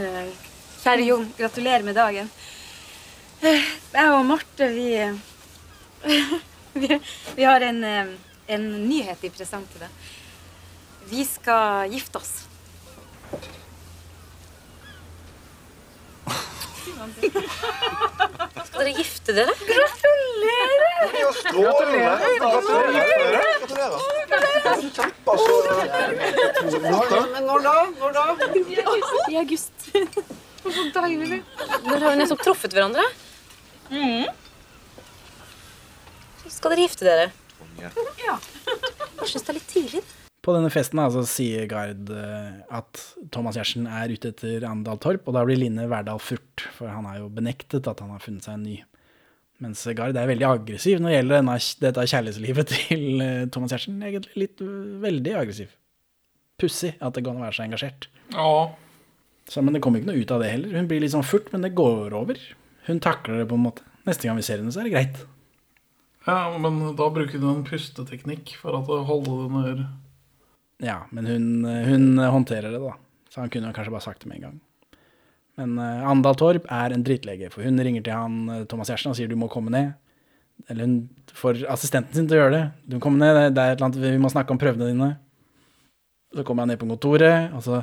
Eh, Kjære Jon, gratulerer med dagen. Eh, Jeg og Marte, vi eh, Vi, vi har en, eh, en nyhet i presang til deg. Vi skal gifte oss. Skal dere gifte dere? I august. Så deilig. Dere har jo nettopp truffet hverandre. Mm. Så skal dere gifte dere. Jeg syns det er litt tidlig. På denne festen da, så sier Gard eh, at Thomas Giertsen er ute etter Andal Torp, og da blir Line Verdal furt, for han er jo benektet at han har funnet seg en ny. Mens Gard er veldig aggressiv når det gjelder denne, dette kjærlighetslivet til eh, Thomas Giertsen. Egentlig litt eh, veldig aggressiv. Pussig at det går an å være så engasjert. Ja, Så, men det kommer ikke noe ut av det heller. Hun blir litt sånn furt, men det går over. Hun takler det på en måte. Neste gang vi ser henne, så er det greit. ja men da bruker du en pusteteknikk for at å holde det under Ja, men hun, hun håndterer det, da. Så han kunne jo kanskje bare sagt det med en gang. Men eh, Andal Torp er en drittlege, for hun ringer til han eh, Thomas Giertsen og sier du må komme ned. Eller hun får assistenten sin til å gjøre det. Du må komme ned, det- det er et eller annet, vi må snakke om prøvene dine. Så kommer han ned på kontoret, og så,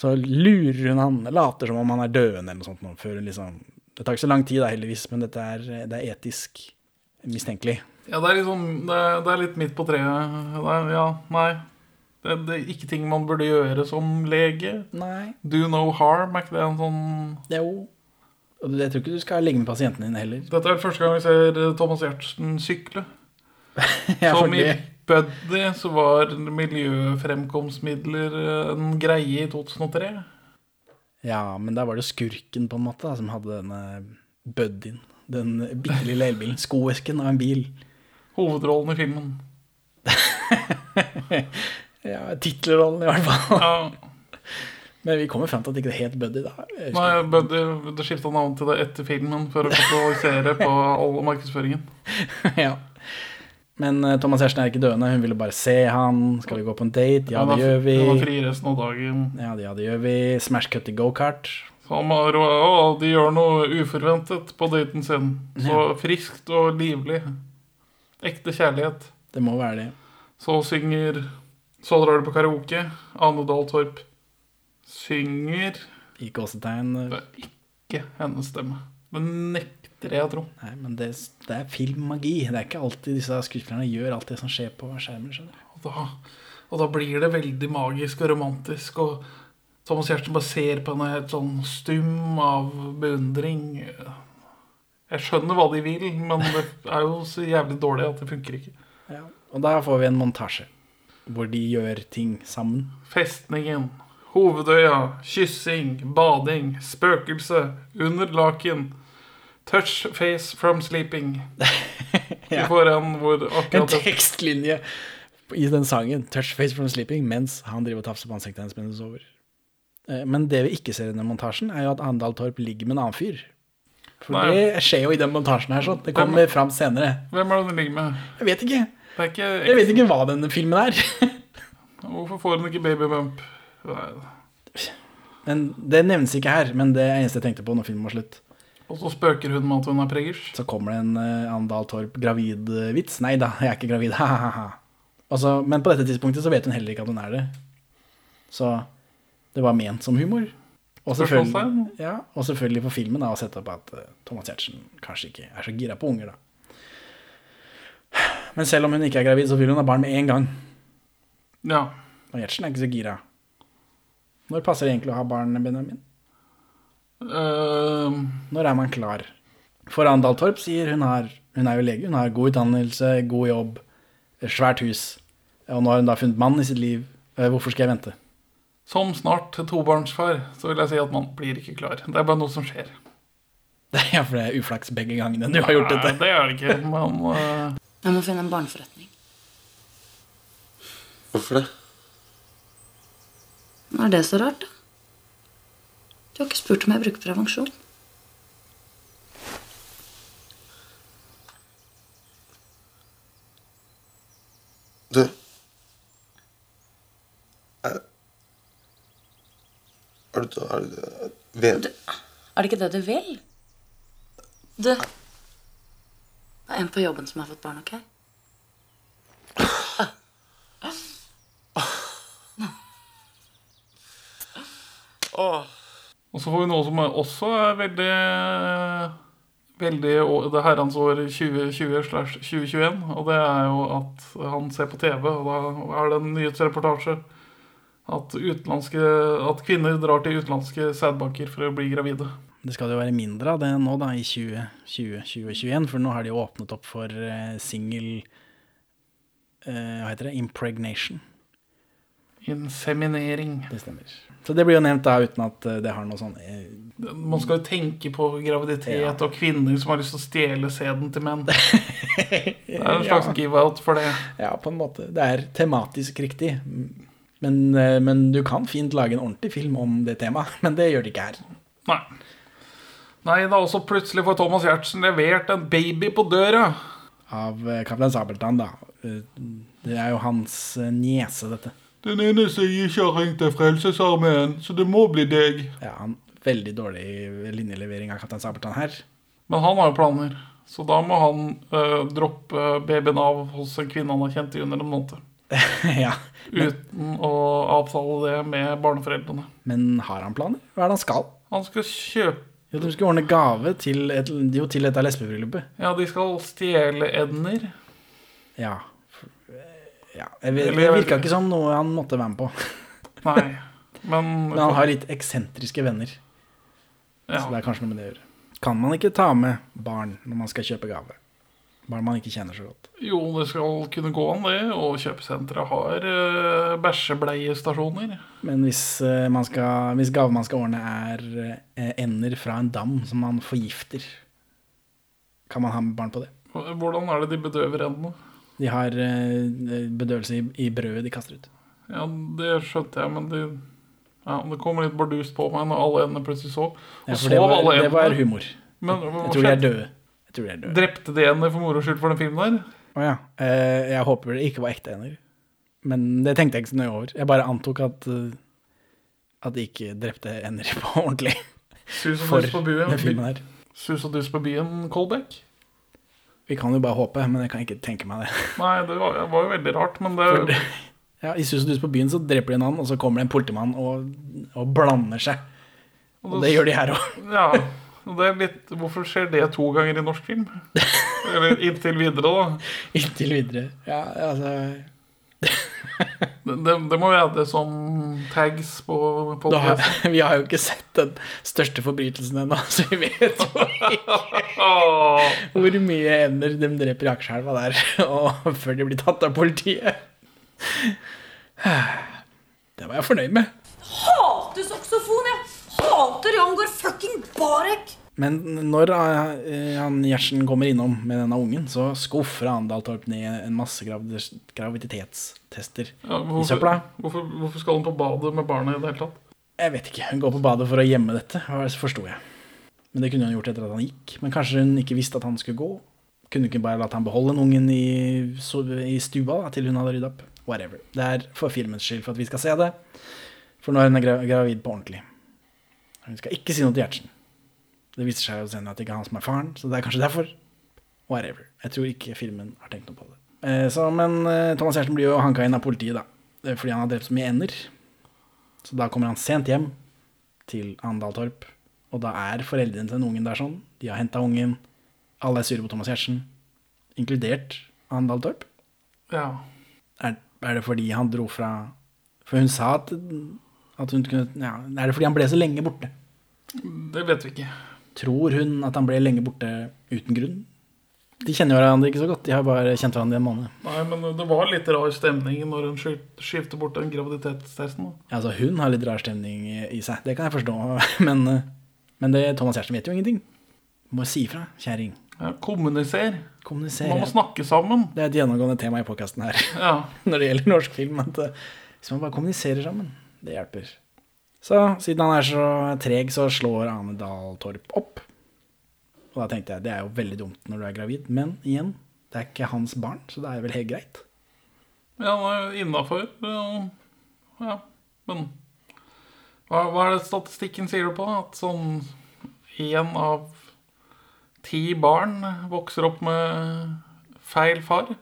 så lurer hun han, later som om han er døende eller noe sånt. nå, Før hun liksom Det tar ikke så lang tid da, heldigvis, men dette er, det er etisk mistenkelig. Ja, det er litt, sånn, det, er- det er litt midt på treet. Det er, ja, nei. Det, det er ikke ting man burde gjøre som lege. Nei. Do no harm, er ikke det en sånn Jo. Og jeg tror ikke du skal ligge med pasienten din heller. Dette er første gang vi ser Thomas Giertsen sykle. Ja, Som fordi- i Buddy så var miljøfremkomstmidler eh, en greie i 2003. Ja, men der var det skurken på en måte da, som hadde denne buddyen. Den bitte lille elbilen. Skoesken av en bil. Hovedrollen i filmen. ja, tittelrollen i hvert fall. Men vi kommer fram til at det ikke er helt buddy, da. Jeg husker Nei, Buddy det skifta navn til det etter filmen for å kapitalisere på all markedsføringen. ja. Men eh, Thomas Gjertsen er ikke døende, hun ville bare se han. Skal vi gå på en date? Ja, det gjør vi. Han var fri resten av dagen. Ja, det, ja, det gjør vi. Smash cut i gokart. Så han var, å, de gjør noe uforventet på daten sin. Så friskt og livlig. Ekte kjærlighet. Det må være det. Så synger Så drar du på karaoke. Ane Dahl Torp synger I gåsetegn. eh, ikke hennes stemme. Det nekter jeg å tro. Nei, men det, det er filmmagi. Det er ikke alltid disse skuespillerne gjør alt det som skjer på skjermen. skjønner du. Og da, og da blir det veldig magisk og romantisk. Og Thomas Giertsen bare ser på henne helt sånn stum av beundring. Jeg skjønner hva de vil, men det er jo så jævlig dårlig at det funker ikke. Ja. Og da får vi en montasje hvor de gjør ting sammen. Festningen, hovedøya, kyssing, bading, spøkelse, under laken. Touch face from sleeping. Vi får en hvor En akkurat tekstlinje i den sangen, 'Touch Face From Sleeping', mens han driver og tafser på ansiktet hennes mens hun sover. Eh, Men det vi ikke ser i den montasjen, er jo at Andal Torp ligger med en annen fyr. For Nei. det skjer jo i den montasjen her, sånn. Det kommer fram senere. Hvem er det hun ligger med? Jeg vet ikke. Det er ikke Jeg vet ikke hva denne filmen er. Hvorfor får hun ikke babybump? Nei. Men det nevnes ikke her, men det er det eneste jeg tenkte på når filmen var slutt. Og så spøker hun med at hun er preggers. Så kommer det en uh, Andal Torp gravid-vits. Nei da, jeg er ikke gravid. Ha, ha, ha. Og så- men på dette tidspunktet så vet hun heller ikke at hun er det. Så det var ment som humor. Og selvfølgelig, Spørsmålstegn? ja, og selvfølgelig for filmen da, å sette opp at eh, Thomas Giertsen kanskje ikke er så gira på unger. da. Men selv om hun ikke er gravid, så vil hun ha barn med en gang. Ja. Og Giertsen er ikke så gira. Når passer det egentlig å ha barn, Benjamin? Ehm, Når er man klar? For Andal Torp sier hun, har, hun er jo lege, hun har god utdannelse, god jobb, svært hus. Og nå har hun da funnet mann i sitt liv. Eh, Hvorfor skal jeg vente? som snart tobarnsfar så vil jeg si at man blir ikke klar. Det er bare noe som skjer. Det er for det er uflaks begge gangene du har gjort Nei, dette. det er det ikke, men eh, Jeg må finne en barneforretning. Hvorfor det? Hva er det så rart, da? Du har ikke spurt om jeg bruker prevensjon. Du Er, er du er, du- vet, Er det ikke det du vil? Du Det er en på jobben som har fått barn, OK? Og så får vi noe som er- også er veldig Veldig å- det herrens år 2020 slash 2021. Og det er jo at han ser på TV, og da er det en nyhetsreportasje at, utenlandske- at kvinner drar til utenlandske sædbanker for å bli gravide. Det skal det jo være mindre av det nå da, i 2020 2021, for nå har de jo åpnet opp for eh, single eh, Hva heter det? Impregnation. Inseminering. Det stemmer. Så det blir jo nevnt da uten at eh, det har noe sånn eh, Man skal jo tenke på graviditet Ja. og kvinner som har lyst til å stjele sæden til menn. Det er en slags Ja. give-out for det. Ja, på en måte. Det er tematisk riktig. Men, eh, men du kan fint lage en ordentlig film om det temaet, men det gjør det ikke her. Nei. Nei, da også plutselig får Thomas Giertsen levert en baby på døra. Av eh, Kaptein Sabeltann, da. Eh, Det er jo hans eh, niese, dette. Den eneste gikjøring til Frelsesarmeen, så det må bli deg. Ja, han Veldig dårlig linjelevering av Kaptein Sabeltann her. Men han har jo planer, så da må han eh, droppe babyen av hos en kvinne han har kjent i under en måned. ja. Uten å avtale det med barneforeldrene. Men har han planer? Hva er det han skal? Han skal kjøpe Jo, de skulle ordne gave til, et, jo, til dette lesbebryllupet. Ja, de skal stjele Edner. Ja. ja. Jeg vet- Det Eller- virka ikke som noe han måtte være med på. Nei, men Men han har litt eksentriske venner. Ja. Så det er kanskje noe med det å gjøre. Kan man ikke ta med barn når man skal kjøpe gave? Barn man ikke kjenner så godt. Jo, det skal kunne gå an, det. Og kjøpesentre har eh, bæsjebleiestasjoner. Men hvis, eh, man skal, hvis gave man skal ordne, er eh, ender fra en dam som man forgifter, kan man ha med barn på det? Hvordan er det de bedøver endene? De har eh, bedøvelse i, i brødet de kaster ut. Ja, det skjønte jeg, men de, ja, det kom litt bardust på meg når alle endene plutselig sov. Ja, Og for det sov var- alle Mm, det var endene. humor. Men, Jeg hva tror de er skjedde? døde. Jeg tror de er døde. Drepte de henne for moro skyld for den filmen der? Å ja. Eh, jeg håper det ikke var ekte ender. Men det tenkte jeg ikke så nøye over. Jeg bare antok at, eh, at de ikke drepte ender på ordentlig. Sus og For dus på byen. den filmen her. Sus og dus på byen, Kolbekk? Vi kan jo bare håpe, men jeg kan ikke tenke meg det. Nei, det var, det var jo veldig rart, men det For det- Ja, I Sus og Dus på byen så dreper de en annen, og så kommer det en politimann og, og blander seg. Og det gjør de her òg. Ja, og det er litt, Hvorfor skjer det to ganger i norsk film? Eller inntil videre, da. Inntil videre. Ja, altså Det, det, det må være det som tags på da har, podkasten. Vi har jo ikke sett den største forbrytelsen ennå, så vi vet jo ikke hvor mye ender de dreper i Akerselva der, og før de blir tatt av politiet. Det var jeg fornøyd med. Hater saksofon, jeg! Hater Jongor fucking Barek! Men når eh, han Gjertsen kommer innom med denne ungen, så skuffer han Dahl Torp ned en masse gravid- graviditetstester Ja, i søpla. hvorfor, hvorfor, hvorfor skal hun på badet med barnet i det hele tatt? Jeg vet ikke. Hun går på badet for å gjemme dette, var det så forsto jeg. Men det kunne hun gjort etter at han gikk. Men kanskje hun ikke visste at han skulle gå. Kunne hun ikke bare latt han beholde den ungen i, so- i stua da, til hun hadde rydda opp? Whatever. Det er for filmens skyld, for at vi skal se det. For nå er hun gra gravid på ordentlig. Hun skal ikke si noe til Gjertsen. Det viser seg jo senere at det ikke er han som er faren, så det er kanskje derfor. Whatever. Jeg tror ikke filmen har tenkt noe på det. Eh, så, men eh, Thomas Gjertsen blir jo hanka inn av politiet, da. Eh, Fordi han har drept så mye ender. Så da kommer han sent hjem til Andal Torp. Og da er foreldrene til den ungen der sånn. De har henta ungen. Alle er sure på Thomas Gjertsen, inkludert Andal Torp. Ja. Er, er det fordi han dro fra For hun sa at, at hun kunne ja, Er det fordi han ble så lenge borte? Det vet vi ikke. Tror hun at han ble lenge borte uten grunn? De kjenner jo hverandre ikke så godt. De har bare kjent hverandre i en måned. Nei, men det var litt rar stemning når hun skyl- skyldte bort den graviditetstesten. da. Altså, hun har litt rar stemning i i seg, det kan jeg forstå, men, eh, men det, Thomas Gjertsen vet jo ingenting. Må si ifra, kjerring. Ja, kommuniser. Kommuniser. Man ja. må snakke sammen. Det er et gjennomgående tema i podkasten her Ja. når det gjelder norsk film. At eh, hvis man bare kommuniserer sammen, det hjelper. Så siden han er så treg, så slår Ane Dahl Torp opp. Og da tenkte jeg det er jo veldig dumt når du er gravid, men igjen, det er ikke hans barn, så det er vel helt greit. Ja, han er innafor. Ja. Men hva, hva er det statistikken sier du på? At sånn én av ti barn vokser opp med feil far?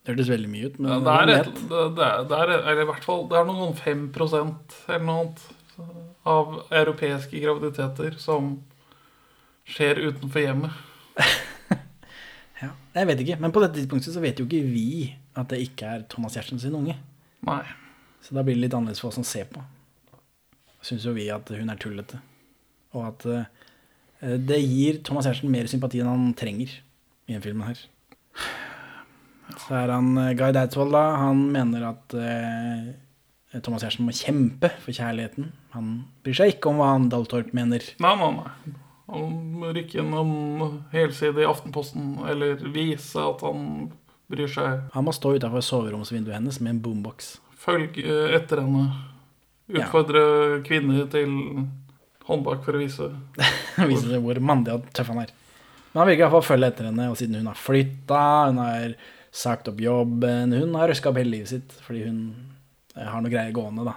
Det hørtes veldig mye ut, men Ja, det, er et, det, det, er, det, er, eller i hvert fall, det er noen sånn 5 eller noe annet av europeiske graviditeter som skjer utenfor hjemmet. Jeg vet ikke, men på dette tidspunktet så vet jo ikke vi at det ikke er Thomas Gjertsen sin unge. Nei. Så da blir det litt annerledes for oss som ser på. Syns jo vi at hun er tullete. Og at eh, det gir Thomas Gjertsen mer sympati enn han trenger i denne filmen her. Så er han eh, Guy Dadsvold, da. Han mener at eh, Thomas Gjertsen må kjempe for kjærligheten. Han bryr seg ikke om hva han Daltorp mener. Nei, nei, nei. Han rykker inn en helside i Aftenposten eller vise at han bryr seg. Han må stå utafor soveromsvinduet hennes med en boombox. Følg eh, etter henne. Utfordre kvinner til håndbak for å vise. Viser seg hvor mandig og tøff han er. Men han virker i hvert fall følge etter henne, og siden hun har flytta, hun har sagt opp jobben, hun har røska opp hele livet sitt fordi hun eh, har noe greier gående, da.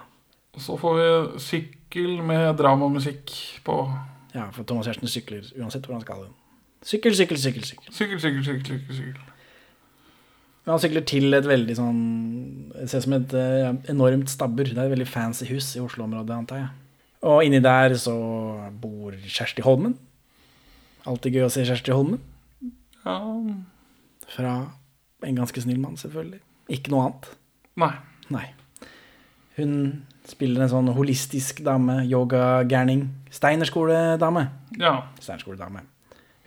Så får vi sykkel med dramamusikk på. Ja, for Thomas Gjertsen sykler uansett hvor han skal. Sykkel, sykkel, sykkel. sykkel. Sykkel, sykkel, sykkel, sykkel, sykkel. Men han sykler til et veldig sånn Det ser ut som et eh, enormt stabbur. Det er et veldig fancy hus i Oslo-området, antar jeg. Og inni der så bor Kjersti Holmen. Alltid gøy å se Kjersti Holmen. Ja. Fra en ganske snill mann, selvfølgelig. Ikke noe annet. Nei. Nei. Hun spiller en sånn holistisk dame, yogagærning. Steinerskoledame. Ja. Steinerskoledame.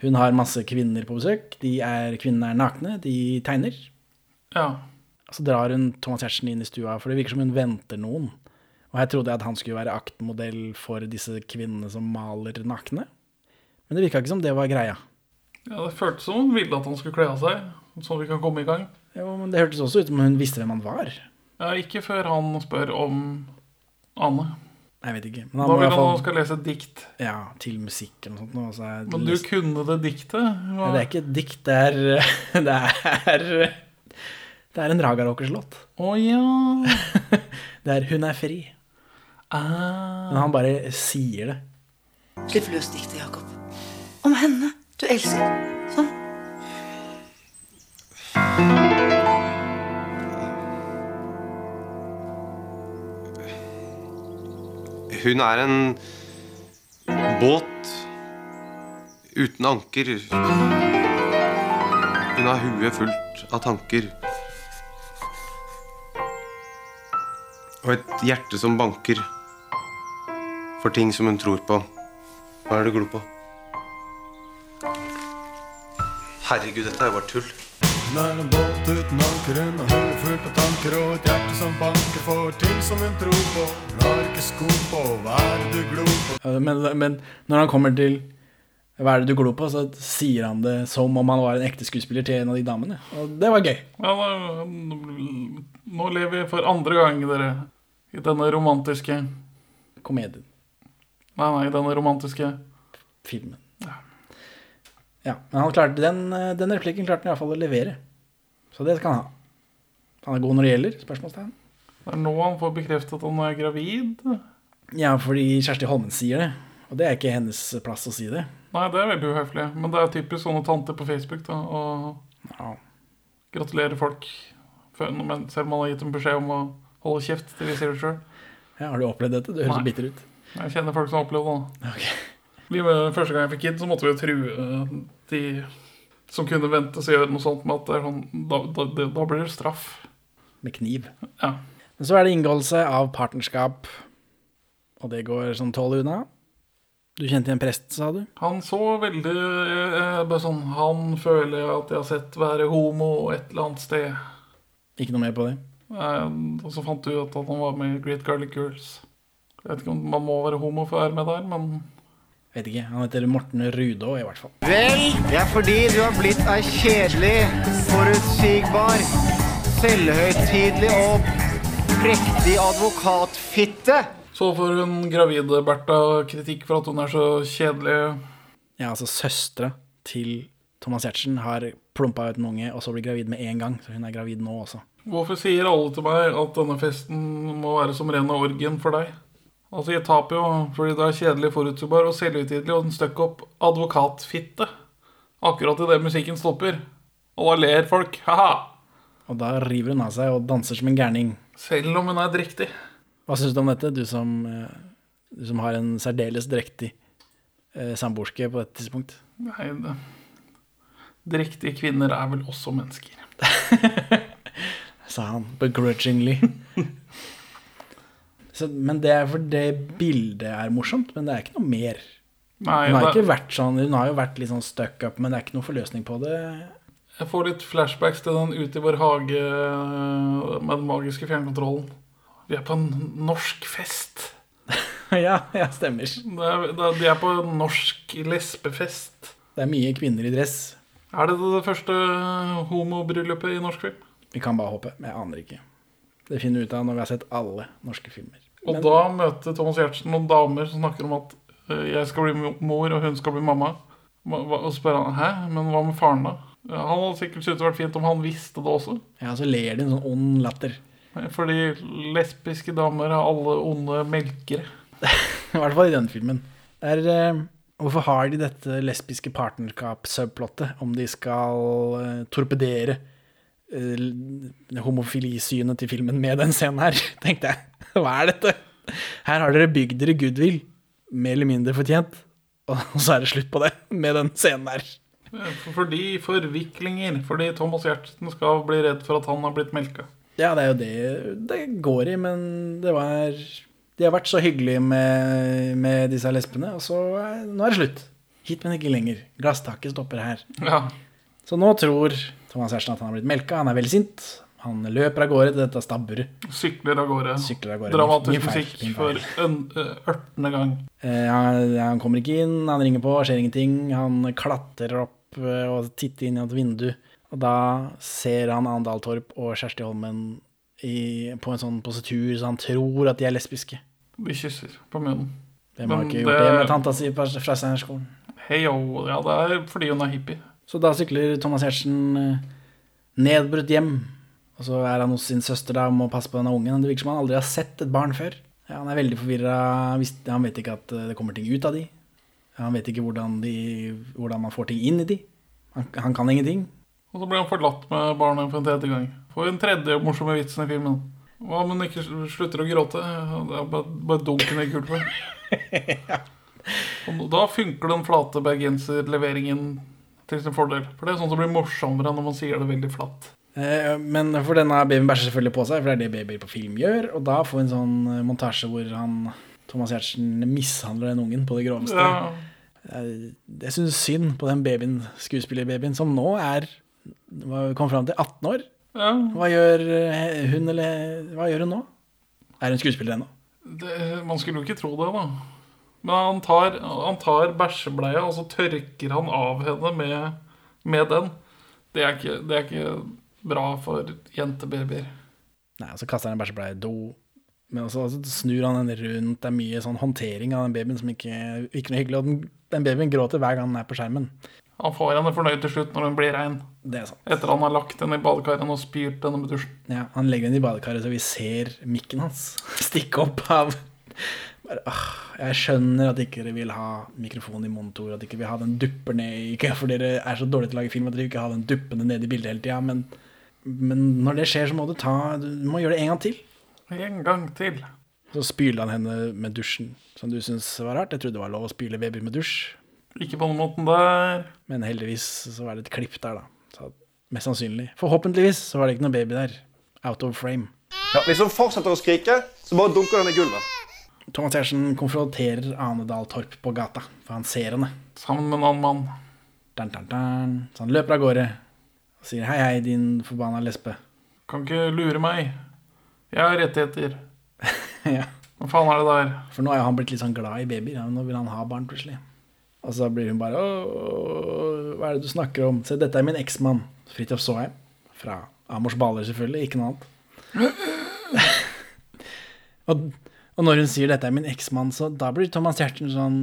Hun har masse kvinner på besøk. De er, kvinnene er nakne, de tegner. Ja. Og så drar hun Thomas Giertsen inn i stua, for det virker som hun venter noen. Og her trodde jeg at han skulle være aktmodell for disse kvinnene som maler nakne. Men det virka ikke som det var greia. Ja, Det føltes som hun ville at han skulle kle av seg, sånn vi kan komme i gang. Jo, men Det hørtes også ut som hun visste hvem han var. Ja, ikke før han spør om Anne. Jeg vet ikke. Da vil i hvert han fall- han skal lese et dikt. Ja, til musikk eller noe sånt. nå, og så er det Men du lyst- kunne det diktet? Ja, det er ikke et dikt, det er Det er, det er en Ragarokers-låt. Å ja. Det er 'Hun er fri'. Ah. Men han bare sier det. Slipp løs diktet, Jakob. Om henne du elsker. Sånn. Hun er en båt uten anker. Hun har huet fullt av tanker. Og et hjerte som banker for ting som hun tror på. Hva er det du glor på? Herregud, dette er jo bare tull. Hun er en båt uten anker, hun har hodet fullt av tanker og et hjerte som banker for ting som hun tror på. Hun har ikke sko på, hva er det du glor på? Ja, Men, men når han kommer til 'Hva er det du glor på', så sier han det som om han var en ekte skuespiller til en av de damene. Og det var gøy. Ja, da- nå lever vi for andre gang, dere, i denne romantiske Komedien. Nei, nei, denne romantiske Filmen. Ja, men han klarte, den, den replikken klarte han iallfall å levere. Så det skal han ha. Han er god når det gjelder? Spørsmålstegn. Det er nå han får bekreftet at han er gravid. Ja, fordi Kjersti Holmen sier det. Og det er ikke hennes plass å si det. Nei, det er veldig uhøflig. Men det er typisk sånne tanter på Facebook da, å gratulere folk før, men selv om man har gitt dem beskjed om å holde kjeft til de sier det sjøl. Ja, har du opplevd dette? Du høres så Nei. bitter ut. Jeg kjenner folk som har opplevd det. Livet- Første gang jeg fikk kid, så måtte vi jo true eh, de som kunne ventes å gjøre noe sånt med at det er sånn, da, da, det- da blir det straff. Med kniv. Men så er det inngåelse av partnerskap, og det går sånn tålelig unna. Du kjente igjen prest, sa du? Han så veldig eh, bare sånn Han føler jeg at jeg har sett være homo et eller annet sted. Ikke noe mer på det? Eh, og så fant du ut at han var med i Great Garlic Girls. Jeg vet ikke om man må være homo for å være med der, men Vet ikke. Han heter Morten Rudå, i hvert fall. Vel, det er fordi du har blitt ei kjedelig, forutsigbar, selvhøytidelig og prektig advokatfitte. Så får hun gravide Bertha kritikk for at hun er så kjedelig. Ja, altså søstre til Thomas Giertsen har plumpa ut en unge, og så blir gravid med en gang. Så hun er gravid nå også. Hvorfor sier alle til meg at denne festen må være som rene orgien for deg? Altså, jeg taper jo fordi du er kjedelig, forutsigbar og selvhøytidelig og en støkk opp advokatfitte. Akkurat idet musikken stopper. Og da ler folk. Ha-ha! Og da river hun av seg og danser som en gærning. Selv om hun er drektig. Hva syns du om dette, du som, eh, du som har en særdeles drektig eh, samboerske på dette tidspunkt? Nei, det. Drektige kvinner er vel også mennesker. sa han begrudgingly. så, men det er for det bildet er morsomt, men det er ikke noe mer. Nei, hun, har det- ikke vært sånn, hun har jo vært litt sånn stuck up, men det er ikke noe forløsning på det. Jeg får litt flashbacks til den Ute i vår hage med den magiske fjernkontrollen. Vi er på en norsk fest. ja, ja, stemmer. Det er, det er, de er på en norsk lesbefest. Det er mye kvinner i dress. Er det det første homobryllupet i norsk film? Vi kan bare håpe. men Jeg aner ikke. Det finner vi ut av når vi har sett alle norske filmer. Og da møter Thomas Giertsen noen damer som snakker om at eh, jeg skal bli mo- mor, og hun skal bli mamma. Hva- hva- Og så spør han hæ, men hva med faren, da? Ja, Han hadde sikkert syntes det vært fint om han visste det også. Eh, Ja, så ler de en sånn ond latter. Fordi lesbiske damer er alle onde melkere. I hvert fall i denne filmen. Det Er, eh, hvorfor har de dette lesbiske partnerskap-subplottet om de skal eh, torpedere eh, l- homofilisynet til filmen med den scenen her, tenkte jeg. Hva er dette? Her har dere bygd dere goodwill, mer eller mindre fortjent, og så er det slutt på det med den scenen her. Eh, For- Fordi forviklinger. Fordi Thomas Giertsen skal bli redd for at han har blitt melka. Ja, det er jo det det går i, men det var De har vært så hyggelige med, med disse lesbene, og så er, nå er det slutt. Hit, men ikke lenger. Glasstaket stopper her. Ja. Så nå tror Thomas Giertsen at han har blitt melka. Han er veldig sint. Han løper av gårde til dette stabburet. Sykler av gårde. Sykler av gårde. Min Dramatisk feil, musikk min for feil. en eh, ørtende gang. Eh, han, han kommer ikke inn, han ringer på, skjer ingenting. Han klatrer opp opp eh, og titte inn i et vindu. Og da ser han Andal Torp og Kjersti Holmen i, på en sånn positur, så han tror at de er lesbiske. De kysser på munnen. Hvem har Men ikke gjort det med tanta si på- fra Steinerskolen? Hei, jo, ja, det er fordi hun er hippie. Så da sykler Thomas Giertsen eh, nedbrutt hjem. Og så er han hos sin søster da, om å passe på denne ungen. Det virker som han aldri har sett et barn før. Ja, han er veldig forvirra. Han vis- Han vet ikke at eh, det kommer ting ut av de. Han vet ikke hvordan, de, hvordan man får ting inn i de. Han, han kan ingenting. Og så blir han forlatt med barnet for en tredje gang. For en tredje morsomme vitsen i filmen. Hva om hun ikke sl- slutter å gråte? Det er bare, bare dunken i gulvet. Og da funker den flate bergenserleveringen til sin fordel. For det er sånn som blir morsommere når man sier det veldig flatt. Eh, Men for denne babyen bæsjer selvfølgelig på seg, for det er det babyer på film gjør. Og da får vi en sånn eh, montasje hvor han, Thomas Giertsen mishandler den ungen på det groveste. Ja. Jeg, Eh, jeg syns synd på den babyen, skuespillerbabyen, som nå er hva- Kom fram til 18 år. Hva gjør eh, hun, eller hva gjør hun nå? Er hun skuespiller ennå? Det, man skulle jo ikke tro det, da. Men han tar, han tar bæsjebleia, og så tørker han av henne med, med den. Det er, ikke, det er ikke bra for jentebabyer. Nei, og så kaster han en bæsjebleie i do. Men også, så snur han den rundt. Det er mye sånn håndtering av den babyen som ikke, ikke noe hyggelig. Og den, den babyen gråter hver gang den er på skjermen. Han får henne fornøyd til slutt når hun blir rein. Det er sant. Etter han har lagt henne i badekarene og spyrt henne med dusjen. Ja, han legger den i badekaret så vi ser mikken hans stikke opp av Bare, ah, Jeg skjønner at ikke dere vil ha mikrofon i monitor, at ikke vi har den dupper ned i ikke For dere er så dårlige til å lage film at dere ikke har den duppende nede i bildet hele tida. Men, men når det skjer, så må du ta Du må gjøre det en gang til. En gang til. Så spyler han henne med dusjen, som du syns var rart. Jeg trodde det var lov å spyle babyer med dusj. Ikke på den måten der. Men heldigvis så var det et klipp der, da. Så mest sannsynlig. Forhåpentligvis så var det ikke noe baby der. Out of frame. Ja, hvis hun fortsetter å skrike, så bare dunker den i gulvet. Thomas Giertsen konfronterer Ane Dahl Torp på gata, for han ser henne. Sammen med en annen mann. Dun, dun, dun. Så han løper av gårde og sier 'hei, hei, din forbanna lesbe'. Kan ikke lure meg. Jeg har rettigheter. Ja. Hva faen er det der? For nå er jo han blitt litt sånn glad i babyer. ja, Nå vil han ha barn plutselig. Og så blir hun bare 'Åh, hva er det du snakker om?' Se, dette er min eksmann, Fridtjof Saaheim. Fra Amors Baller, selvfølgelig. Ikke noe annet. og, og når hun sier 'dette er min eksmann', så da blir Thomas Giertsen sånn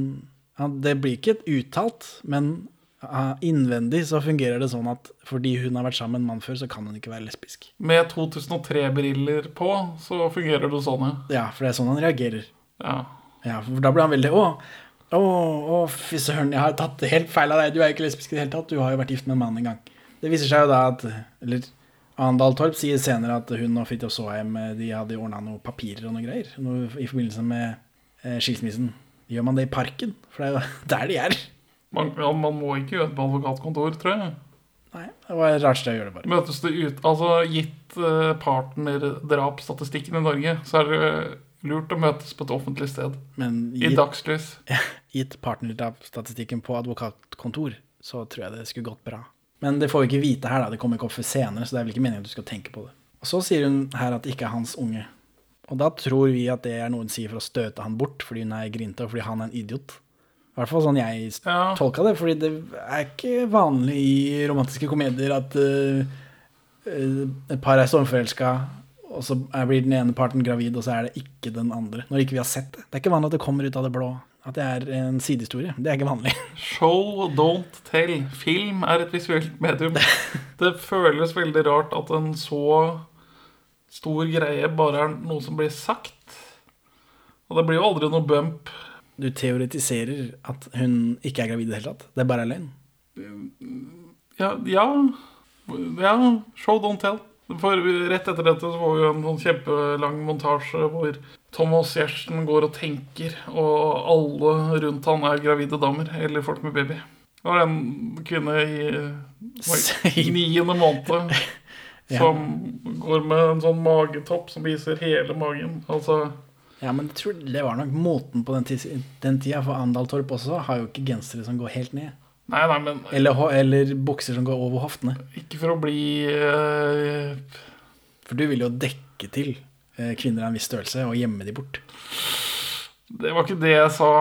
han, Det blir ikke et uttalt, men ah, innvendig så fungerer det sånn at fordi hun har vært sammen med en mann før, så kan hun ikke være lesbisk. Med 2003-briller på, så fungerer det sånn, ja. Ja, for det er sånn han reagerer. Ja. for da blir han veldig Å, å, å fy søren, jeg har tatt helt feil av deg. Du er jo ikke lesbisk i det hele tatt. Du har jo vært gift med en mann en gang. Det viser seg jo da at Eller Andal Torp sier senere at hun og Fridtjof Saaheim eh, de hadde ordna noen papirer og noe greier noe i forbindelse med eh, skilsmissen. Gjør man det i parken? For det er jo der de er. Man, ja, man må ikke gjøre det på advokatkontor, tror jeg. Det var et rart sted å gjøre det, bare. Møtes det ut, altså Gitt eh, partnerdrapsstatistikken i Norge, så er det eh, lurt å møtes på et offentlig sted. Men I dagslys. gitt partnerdrapsstatistikken på advokatkontor, så tror jeg det skulle gått bra. Men det får vi ikke vite her, da. Det kommer ikke opp før senere, så det er vel ikke meningen at du skal tenke på det. Og så sier hun her at det ikke er hans unge. Og da tror vi at det er noe hun sier for å støte han bort fordi hun er grinte, og fordi han er en idiot. I hvert fall sånn jeg s- tolka det, fordi det er ikke vanlig i romantiske komedier at eh, eh, et par er stormforelska, og så er- blir den ene parten gravid, og så er det ikke den andre. Når ikke vi har sett det. Det er ikke vanlig at det kommer ut av det blå. At det er en sidehistorie. Det er ikke vanlig. Show, don't tell. Film er et visuelt medium. Det føles veldig rart at en så stor greie bare er noe som blir sagt. Og det blir jo aldri noe bump. Du teoretiserer at hun ikke er gravid i det hele tatt. Det er bare løgn. Ja, ja, ja show, don't tell. For rett etter dette så får vi jo en sånn kjempelang montasje hvor Thomas Giertsen går og tenker, og alle rundt han er gravide damer eller folk med baby. Det var en kvinne i var i niende måned Ja. som går med en sånn magetopp som viser hele magen. Altså Ja, men jeg tror det var nok moten på den, tids, den tida, for Andal Torp også har jo ikke gensere som går helt ned. Nei, nei, men Eller, ho- eller bukser som går over hoftene. ikke for å bli eh, For du vil jo dekke til eh, kvinner av en viss størrelse og gjemme de bort. Det var ikke det jeg sa.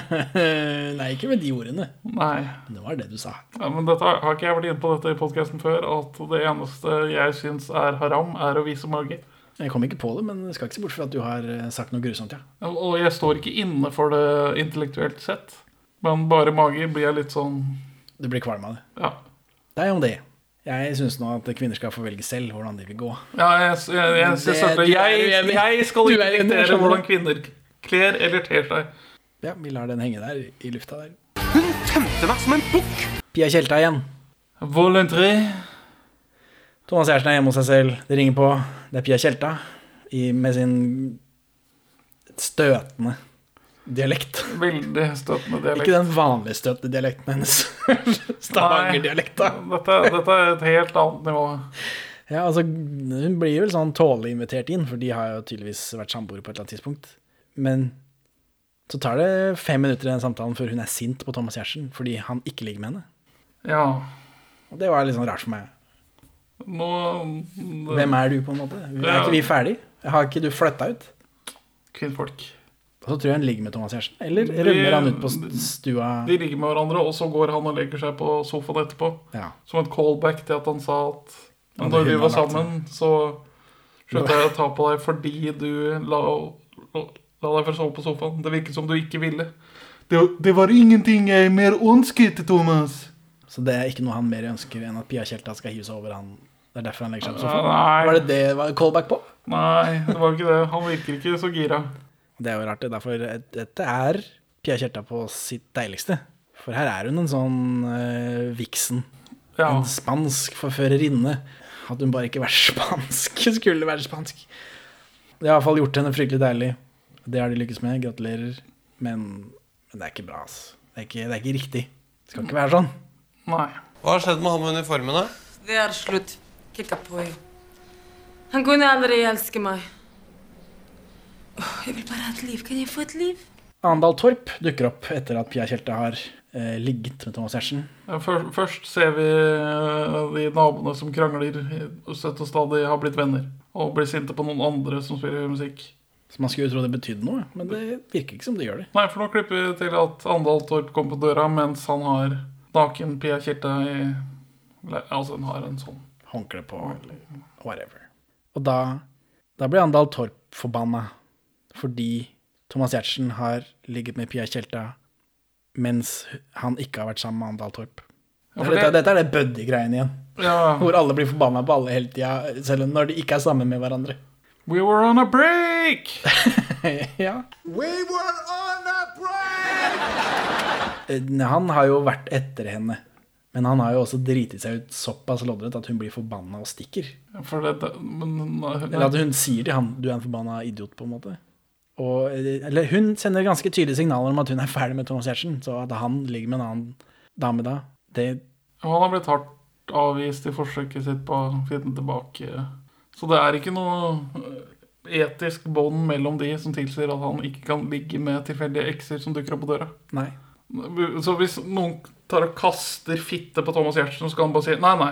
Nei, ikke med de ordene. Nei. Men det var det du sa. Ja, men dette, har har ikke jeg vært inne på dette i podkasten før? At det eneste jeg syns er haram, er å vise mage. Jeg kom ikke på det, men jeg skal ikke se bort fra at du har eh, sagt noe grusomt, ja. Og jeg står ikke inne for det intellektuelt sett. Men bare mage blir jeg litt sånn Du blir kvalm av det. Ja. Det er jo om det. Jeg syns nå at kvinner skal få velge selv hvordan de vil gå. Ja, jeg, jeg, jeg, Det- synes at du er jeg, uenig. jeg skal Du ikke er uenig, diktere skjønner du. hvordan kvinner kler eller ter seg. Ja, vi lar den henge der i lufta der. Tømte meg som en bukk! Pia Tjelta igjen. Volontré. Thomas Giertsen er hjemme hos seg selv. Det ringer på. Det er Pia Tjelta i- med sin støtende dialekt. Veldig støtende dialekt. Ikke den vanlige støtende dialekten hennes. Stavanger-dialekta. Dette, dette er et helt annet nivå. Ja, altså, hun blir vel sånn tålelig invitert inn, for de har jo tydeligvis vært samboere på et eller annet tidspunkt. Men så tar det fem minutter i den samtalen før hun er sint på Thomas Giertsen fordi han ikke ligger med henne. Ja. Og det var litt sånn rart for meg. Nå Hvem er du, på en måte? Er Ja. ikke vi ferdig? Har ikke du flytta ut? Kvinnfolk. Og så tror jeg hun ligger med Thomas Giertsen. Eller De- rømmer han ut på stua De ligger med hverandre, og så går han og legger seg på sofaen etterpå. Ja. Som et callback til at han sa at Ja, det når vi hun var har lagt sammen, så slutta jeg å ta på deg fordi du la, la, la deg for sove på sofaen. Det virket som du ikke ville. Det, det var ingenting jeg mer ønsket, Thomas. Så det er ikke noe han mer ønsker enn at Pia Tjelta skal hive seg over han. Det er derfor han legger seg på Nei. sofaen. Var det det var callback på? Nei, det var ikke det. Han virker ikke så gira. Det er jo rart, det. Derfor eh, dette er Pia Tjelta på sitt deiligste. For her er hun en sånn eh, viksen. Ja. En spansk forførerinne. At hun bare ikke var spansk, skulle være spansk. Det har i hvert fall gjort henne fryktelig deilig. Det har de lykkes med. Gratulerer. Men, men det er ikke bra, ass. Det er ikke, det er ikke riktig. Det skal ikke være sånn. Nei. Hva har skjedd med han med uniformen, da? Det er slutt. Kikka på i. Han kunne aldri elske meg. Åh, Jeg vil bare ha et liv. Kan jeg få et liv? Arendal Torp dukker opp etter at Pia Tjelta har eh, ligget med Thomas Giertsen. Ja, før- Først ser vi eh, de naboene som krangler eh, og støtt og stadig har blitt venner. Og blir sinte på noen andre som spiller musikk. Så man skulle jo tro det betydde noe, men det virker ikke som det gjør det. Nei, for nå klipper vi til at Andal Torp kommer på døra mens han har naken Pia Kjelte i le- Altså, hun har en sånn Håndkle på, whatever. Mm. Og da, da blir Arendal Torp forbanna fordi Thomas Giertsen har ligget med Pia Tjelta mens han ikke har vært sammen med Arendal Torp. Det Ja, for er dette, det- dette er det buddy-greien igjen. Ja. Hvor alle blir forbanna på alle hele tida, selv om når de ikke er sammen med hverandre. We were on a break! ja. We were on a Eh, Han har jo vært etter henne. Men han har jo også driti seg ut såpass loddrett at hun blir forbanna og stikker. For det, det, men, Eller at hun sier til ham 'du er en forbanna idiot', på en måte. Og, eh, eller hun sender ganske tydelige signaler om at hun er ferdig med Thomas Giertsen. Så at han ligger med en annen dame da, det Og han har blitt hardt avvist i forsøket sitt på å finne tilbake. Så det er ikke noe eh, etisk bånd mellom de som tilsier at han ikke kan ligge med tilfeldige ekser som dukker opp på døra. Nei. Så hvis noen tar og kaster fitte på Thomas Giertsen, så skal han bare si nei, nei.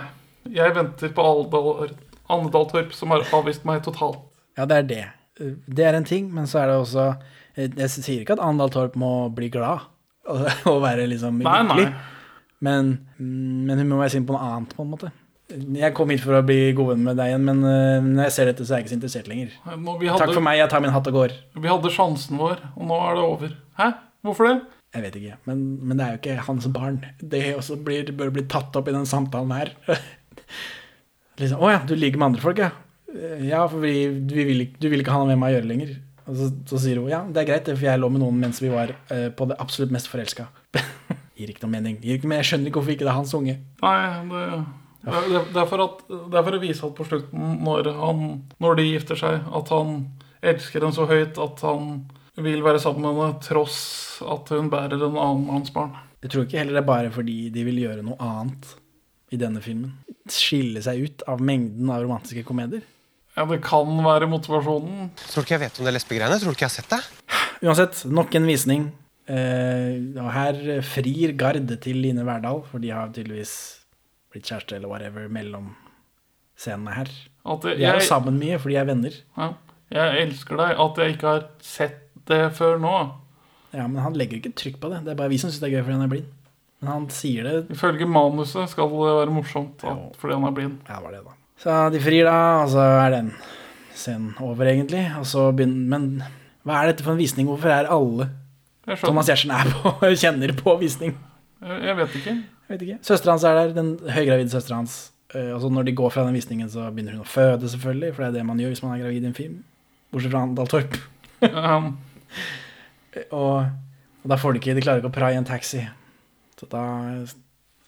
Jeg venter på Aldal- Andedal Torp, som har avvist meg totalt. Ja, det er det. Eh, Det er en ting, men så er det også eh, Jeg sier ikke at Andal Torp må bli glad og, og være liksom Nei, nei. lykkelig. Men, mm, men hun må være sint på noe annet, på en måte. Jeg kom hit for å bli god venn med deg igjen, men eh, når jeg ser dette, så er jeg ikke så interessert lenger. Nå, vi hadde- Takk for meg, jeg tar min hatt og går. Vi hadde sjansen vår, og nå er det over. Hæ? Hvorfor det? Jeg vet ikke, men, men det er jo ikke hans barn. Det også blir, bør bli tatt opp i den samtalen her. liksom, Å ja, du ligger med andre folk, ja. «Eh, Ja, for vi, vi vil, ikke- du vil ikke ha noe med meg å gjøre lenger. Og så, så sier hun ja, det er greit, det, for jeg lå med noen mens vi var eh, på det absolutt mest forelska. Gir ikke noe mening. Gir ikke, men jeg skjønner ikke hvorfor ikke det er hans unge. Nei, det, det, det, det, er for at, det er for å vise at på slutten, når, han, når de gifter seg, at han elsker henne så høyt at han vil være sammen med henne tross at hun bærer en annen manns barn. Jeg tror ikke heller det er bare fordi de vil gjøre noe annet i denne filmen. Skille seg ut av mengden av romantiske komedier. Ja, det kan være motivasjonen. Tror du ikke jeg vet om det lesbegreiene? Tror du ikke jeg har sett det? Uansett, nok en visning. Eh, og her frir Gard til Line Verdal, for de har tydeligvis blitt kjæreste eller whatever mellom scenene her. At det- de er jo jeg- sammen mye, for de er venner. Ja. Jeg elsker deg at jeg ikke har sett det før nå. Ja, men han legger ikke trykk på det. Det er bare vi som syns det er gøy fordi han er blind. Men han sier det. Ifølge manuset skal det være morsomt at, fordi han er blind. Ja, var det da. Så de frir da, og så er den scenen over, egentlig. Og så begynner Men hva er dette for en visning? Hvorfor er alle Jeg skjønner. Thomas Giertsen er på, kjenner på visning? Jeg jeg vet ikke. Jeg vet ikke. Søstera hans er der, den høygravide søstera hans. Eh, Og så når de går fra den visningen, så begynner hun å føde, selvfølgelig. For det er det man gjør hvis man er gravid i en film. Bortsett fra han Dahl Torp. Um, Eh, og, og da får de ikke De klarer ikke å praie en taxi. Så da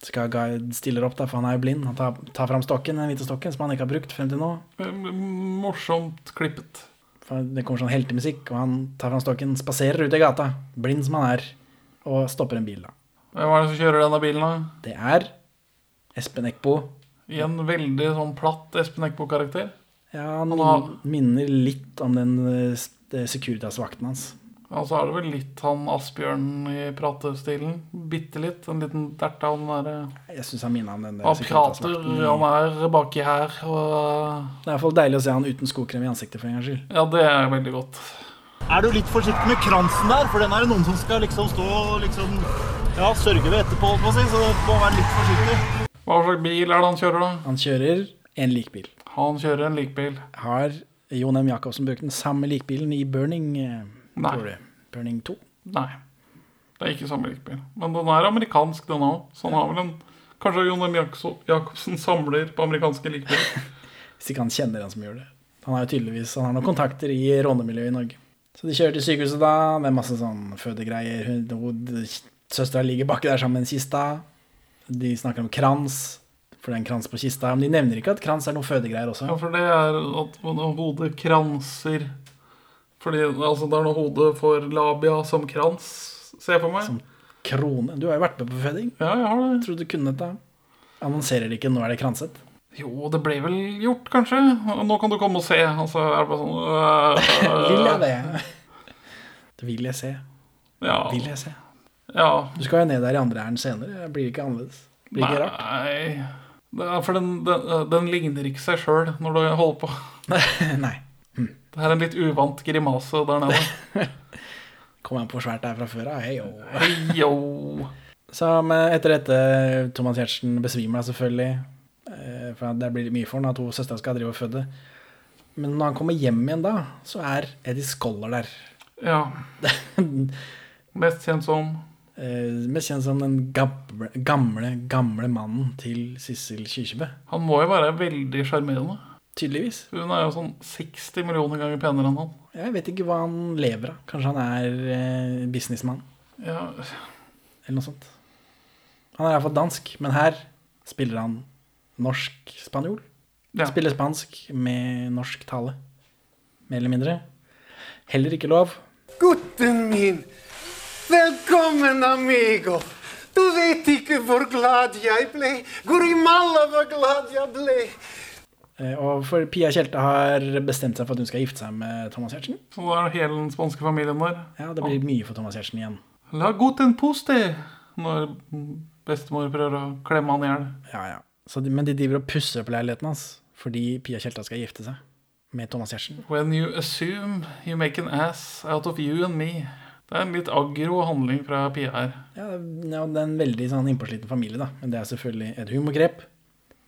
skal guide stiller opp, da, for han er jo blind. Han tar, tar fram stokken, den hvite stokken som han ikke har brukt frem til nå. Morsomt klippet. For det kommer sånn heltemusikk, og han tar fram stokken, spaserer ut i gata, blind som han er, og stopper en bil, da. Hvem er det som kjører denne bilen, da? Det er Espen Eckbo. I en veldig sånn platt Espen Eckbo-karakter. Ja, han min, minner litt om den eh, s- det Securitas-vakten hans. Og så er det vel litt han Asbjørn i pratestilen. Bitte litt. En liten dert av den derre Jeg syns han minner om den der Han prater, Securitas-vakten. han er baki her, og Det er i hvert fall deilig å se han uten skokrem i ansiktet for en gangs skyld. Ja, det er veldig godt. Er du litt forsiktig med kransen der? For den er det noen som skal liksom stå og liksom Ja, sørge ved etterpå, holdt på å si. Så du må være litt forsiktig. Hva slags bil er det han kjører, da? Han kjører en likbil. Han kjører en likbil. Har Jon M. Jacobsen brukt den samme likbilen i Burning? eh, Nei. tror du? Burning 2? Nei. Det er ikke samme likbil. Men den er amerikansk, den òg. Så han har vel en Kanskje Jon M. Jakso- Jacobsen samler på amerikanske likbiler. Hvis ikke han kjenner en som gjør det. Han har jo tydeligvis han har noen kontakter i rånemiljøet i Norge. Så de kjører til sykehuset da, det er masse sånn fødegreier. Hun- hun- Søstera ligger baki der sammen med en kista. De snakker om krans, for det er en krans på kista. Men de nevner ikke at krans er noen fødegreier også. Ja, for det er at når hodet kranser Fordi altså, det er når hodet får labia som krans, ser jeg for meg. Krone. Du har jo vært med på føding. Ja, jeg har det. Tror du kunne dette. Annonserer de ikke 'nå er det kranset'? Jo, det ble vel gjort, kanskje. Og Nå kan du komme og se. Og så er det bare sånn øh, Vil jeg det? Det vil jeg se. Ja. Vil jeg se. Ja. Du skal jo ned der i andre æren senere. Det blir ikke annerledes. Det Blir ikke rart. Nei. Det er for den, den, øh, den ligner ikke seg sjøl når du holder på. Nei. Det her er en litt uvant grimase der nede. Kommer an på hvor svært det er fra før av. Hei, jo. Heio. Så men etter dette Thomas Giertsen besvimer da selvfølgelig. eh, For det blir mye for han at hun søstera skal drive og føde. Men når han kommer hjem igjen da, så er Eddie Scholler der. Ja. Mest kjent som Eh, Mest kjent som den gamle, gamle, gamle mannen til Sissel Kyrkjebø. Han må jo være veldig sjarmerende. Tydeligvis. Hun er jo sånn 60 millioner ganger penere enn han. Jeg vet ikke hva han lever av. Kanskje han er eh, businessmann, Ja, eller noe sånt. Han er iallfall dansk, men her spiller han norsk-spanjol. Ja. Spiller spansk med norsk tale, mer eller mindre. Heller ikke lov. Gutten min, velkommen, amigo. Du vet ikke hvor glad jeg ble. Gurimalla, hvor glad jeg ble. Eh, Og for Pia Tjelte har bestemt seg for at hun skal gifte seg med Thomas Giertsen. Så da er det hele den spanske familien der. Ja, det blir mye for Thomas Giertsen igjen. La guten puste når bestemor prøver å klemme han i hjel. Ja, ja. Så de, men de driver og pusser opp leiligheten hans fordi Pia Tjelta skal gifte seg med Thomas Giertsen. When you assume you make an ass out of you and me. Det er en litt aggro handling fra Pia her. Ja, ja, det er en veldig sånn innpåsliten familie, da. Men det er selvfølgelig et humorgrep.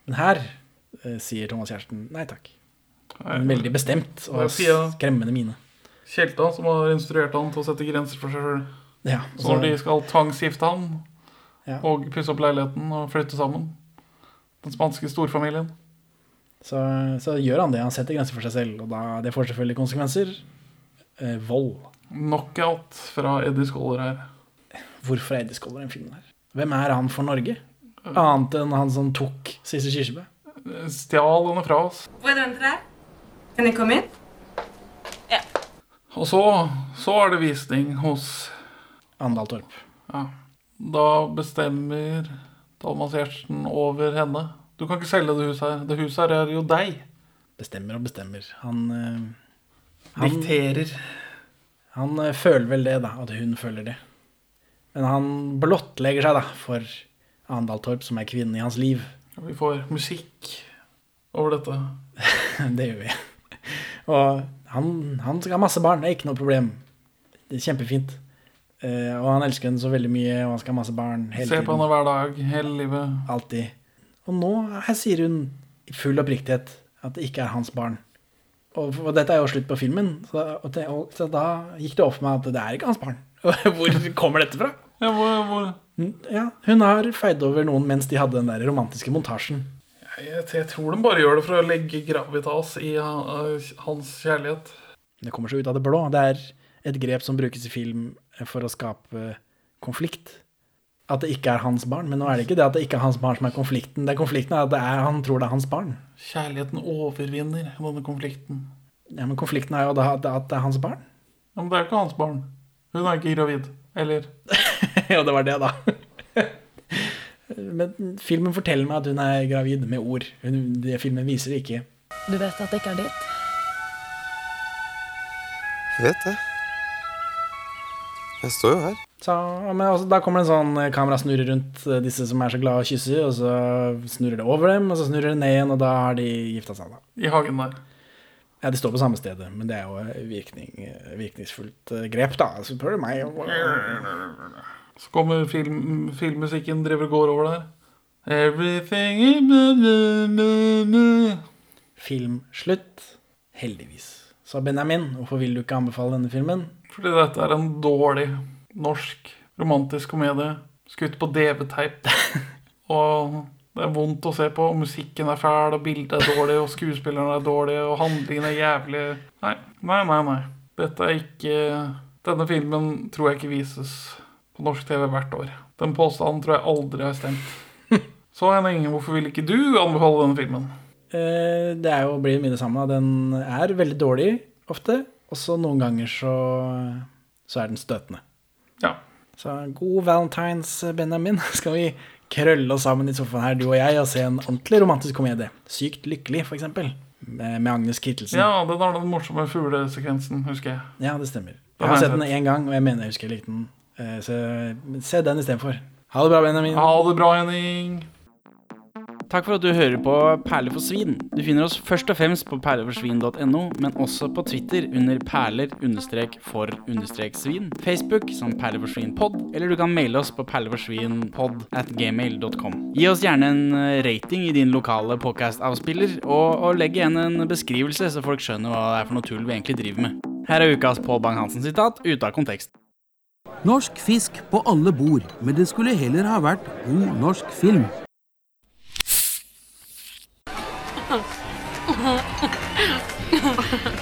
Men her eh, sier Thomas Giertsen nei takk. Men veldig bestemt og Det er Pia. skremmende mine. Kjelta som har instruert han til å sette grenser for seg sjøl. Ja, så når så- de skal tvangsgifte han Ja. og pusse opp leiligheten og flytte sammen Den spanske storfamilien. Så, så gjør han det. Han setter grenser for seg selv, og da, det får selvfølgelig konsekvenser. Eh, vold. Knockout fra Eddie Scholler her. Hvorfor er Eddie Scholler i den filmen her? Hvem er han for Norge? Annet enn han som tok Sissel Kyrkjebø. Stjal henne fra oss. Puedo entrar? Kan jeg komme inn? Og så, så er det visning hos Andal Torp. Ja. Da bestemmer Dalmas Gjertsen over henne. Du kan ikke selge det huset her. Det huset her er jo deg. Bestemmer og bestemmer. Han, eh, Dikterer. Han eh, føler vel det, da. At hun føler det. Men han blottlegger seg da for Andal Torp, som er kvinnen i hans liv. Vi får musikk over dette. det gjør vi. Og han, han skal ha masse barn, det er ikke noe problem. Det er kjempefint. Eh, Eh, og han elsker henne så veldig mye, og han skal ha masse barn. hele Se på tiden. henne hver dag, hele livet. Alltid. Og nå her sier hun i full oppriktighet at det ikke er hans barn. Og, og dette er jo slutt på filmen, så, da- og, te- og, så da gikk det opp for meg at det er ikke hans barn. Hvor kommer dette fra? Ja, hvor, hvor? Ja, Hun har feid over noen mens de hadde den der romantiske montasjen. Jeg, jeg tror de bare gjør det for å legge gravitas i han- hans kjærlighet. Det kommer så ut av det blå. Det er et grep som brukes i film eh, for å skape konflikt. At det ikke er hans barn. Men nå er det ikke det at det ikke er hans barn som er konflikten. Det er konflikten er at det er, han tror det er hans barn. Kjærligheten overvinner denne konflikten. Ja, Men konflikten er jo da at at det er hans barn. Ja, men det er jo ikke hans barn. Hun er ikke gravid. Eller Ja, det var det, da. Men filmen forteller meg at hun er gravid med ord. Hun, det filmen viser det ikke. Du vet at det ikke er ditt? Jeg vet det. Jeg står jo her. Så, men også, da kommer det en sånn eh, kamera snurrer rundt eh, disse som er så glade og kysser, og så snurrer det over dem, og så snurrer det ned igjen, og da har de gifta seg, da. i hagen der. Ja, de står på samme stedet, men det er jo eh, virkning, eh, virkningsfullt eh, grep, da. Så spør du meg. Så kommer film, filmmusikken driver og går over der. Everything is blah, blah, blah, blah. Film slutt. Heldigvis. Så Benjamin, hvorfor vil du ikke anbefale denne filmen? Fordi dette er en dårlig norsk romantisk komedie skutt på DV-teip. og det er vondt å se på. og Musikken er fæl, og bildet er dårlig, og skuespillerne er dårlige, og handlingen er jævlig Nei, nei, nei. nei. Dette er ikke Denne filmen tror jeg ikke vises på norsk TV hvert år. Den påstanden tror jeg aldri har stemt. Så Henning, hvorfor vil ikke du anbefale denne filmen? Eh, Det er jo blir mye det samme. da. Den er veldig dårlig ofte, og så noen ganger så, så er den støtende. Ja. Så god valentines, Benjamin. Skal vi krølle oss sammen i sofaen her, du og jeg, og se en ordentlig romantisk komedie? Sykt lykkelig, for eksempel. Med med Agnes Kittelsen. Ja, den har den morsomme fuglesekvensen, husker jeg. Ja, det stemmer. Den Jeg har har jeg sett den én gang, og jeg mener jeg husker jeg likte den. Eh, Så se den istedenfor. Ha det bra, Benjamin. Ha det bra, Henning. Takk for at du hører på Perler for svin. Du finner oss først og fremst på perleforsvin.no, men også på Twitter under perler-for-svin, Facebook som perleforsvinpod, eller du kan maile oss på perleforsvinpod at gmail.com. Gi oss gjerne en eh, rating i din lokale podcast-avspiller, og, og legg igjen en beskrivelse, så folk skjønner hva det er for noe tull vi egentlig driver med. Her er ukas Pål Bang-Hansen-sitat ute av kontekst. Norsk fisk på alle bord, men det skulle heller ha vært god norsk film.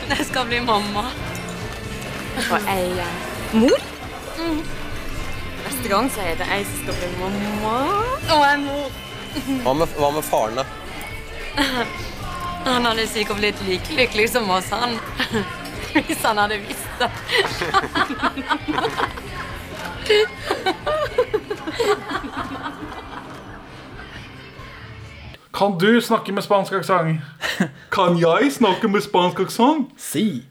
Jeg skal bli mamma. Og jeg eh, Mor? Neste gang så er det jeg som skal bli mamma. Og en mor. Hva med, hva med faren, da? Han hadde sikkert blitt like lykkelig som oss, han. Hvis han hadde visst det. Kan du snakke med spansk aksent? Kan jeg snakke med spansk aksent? Si.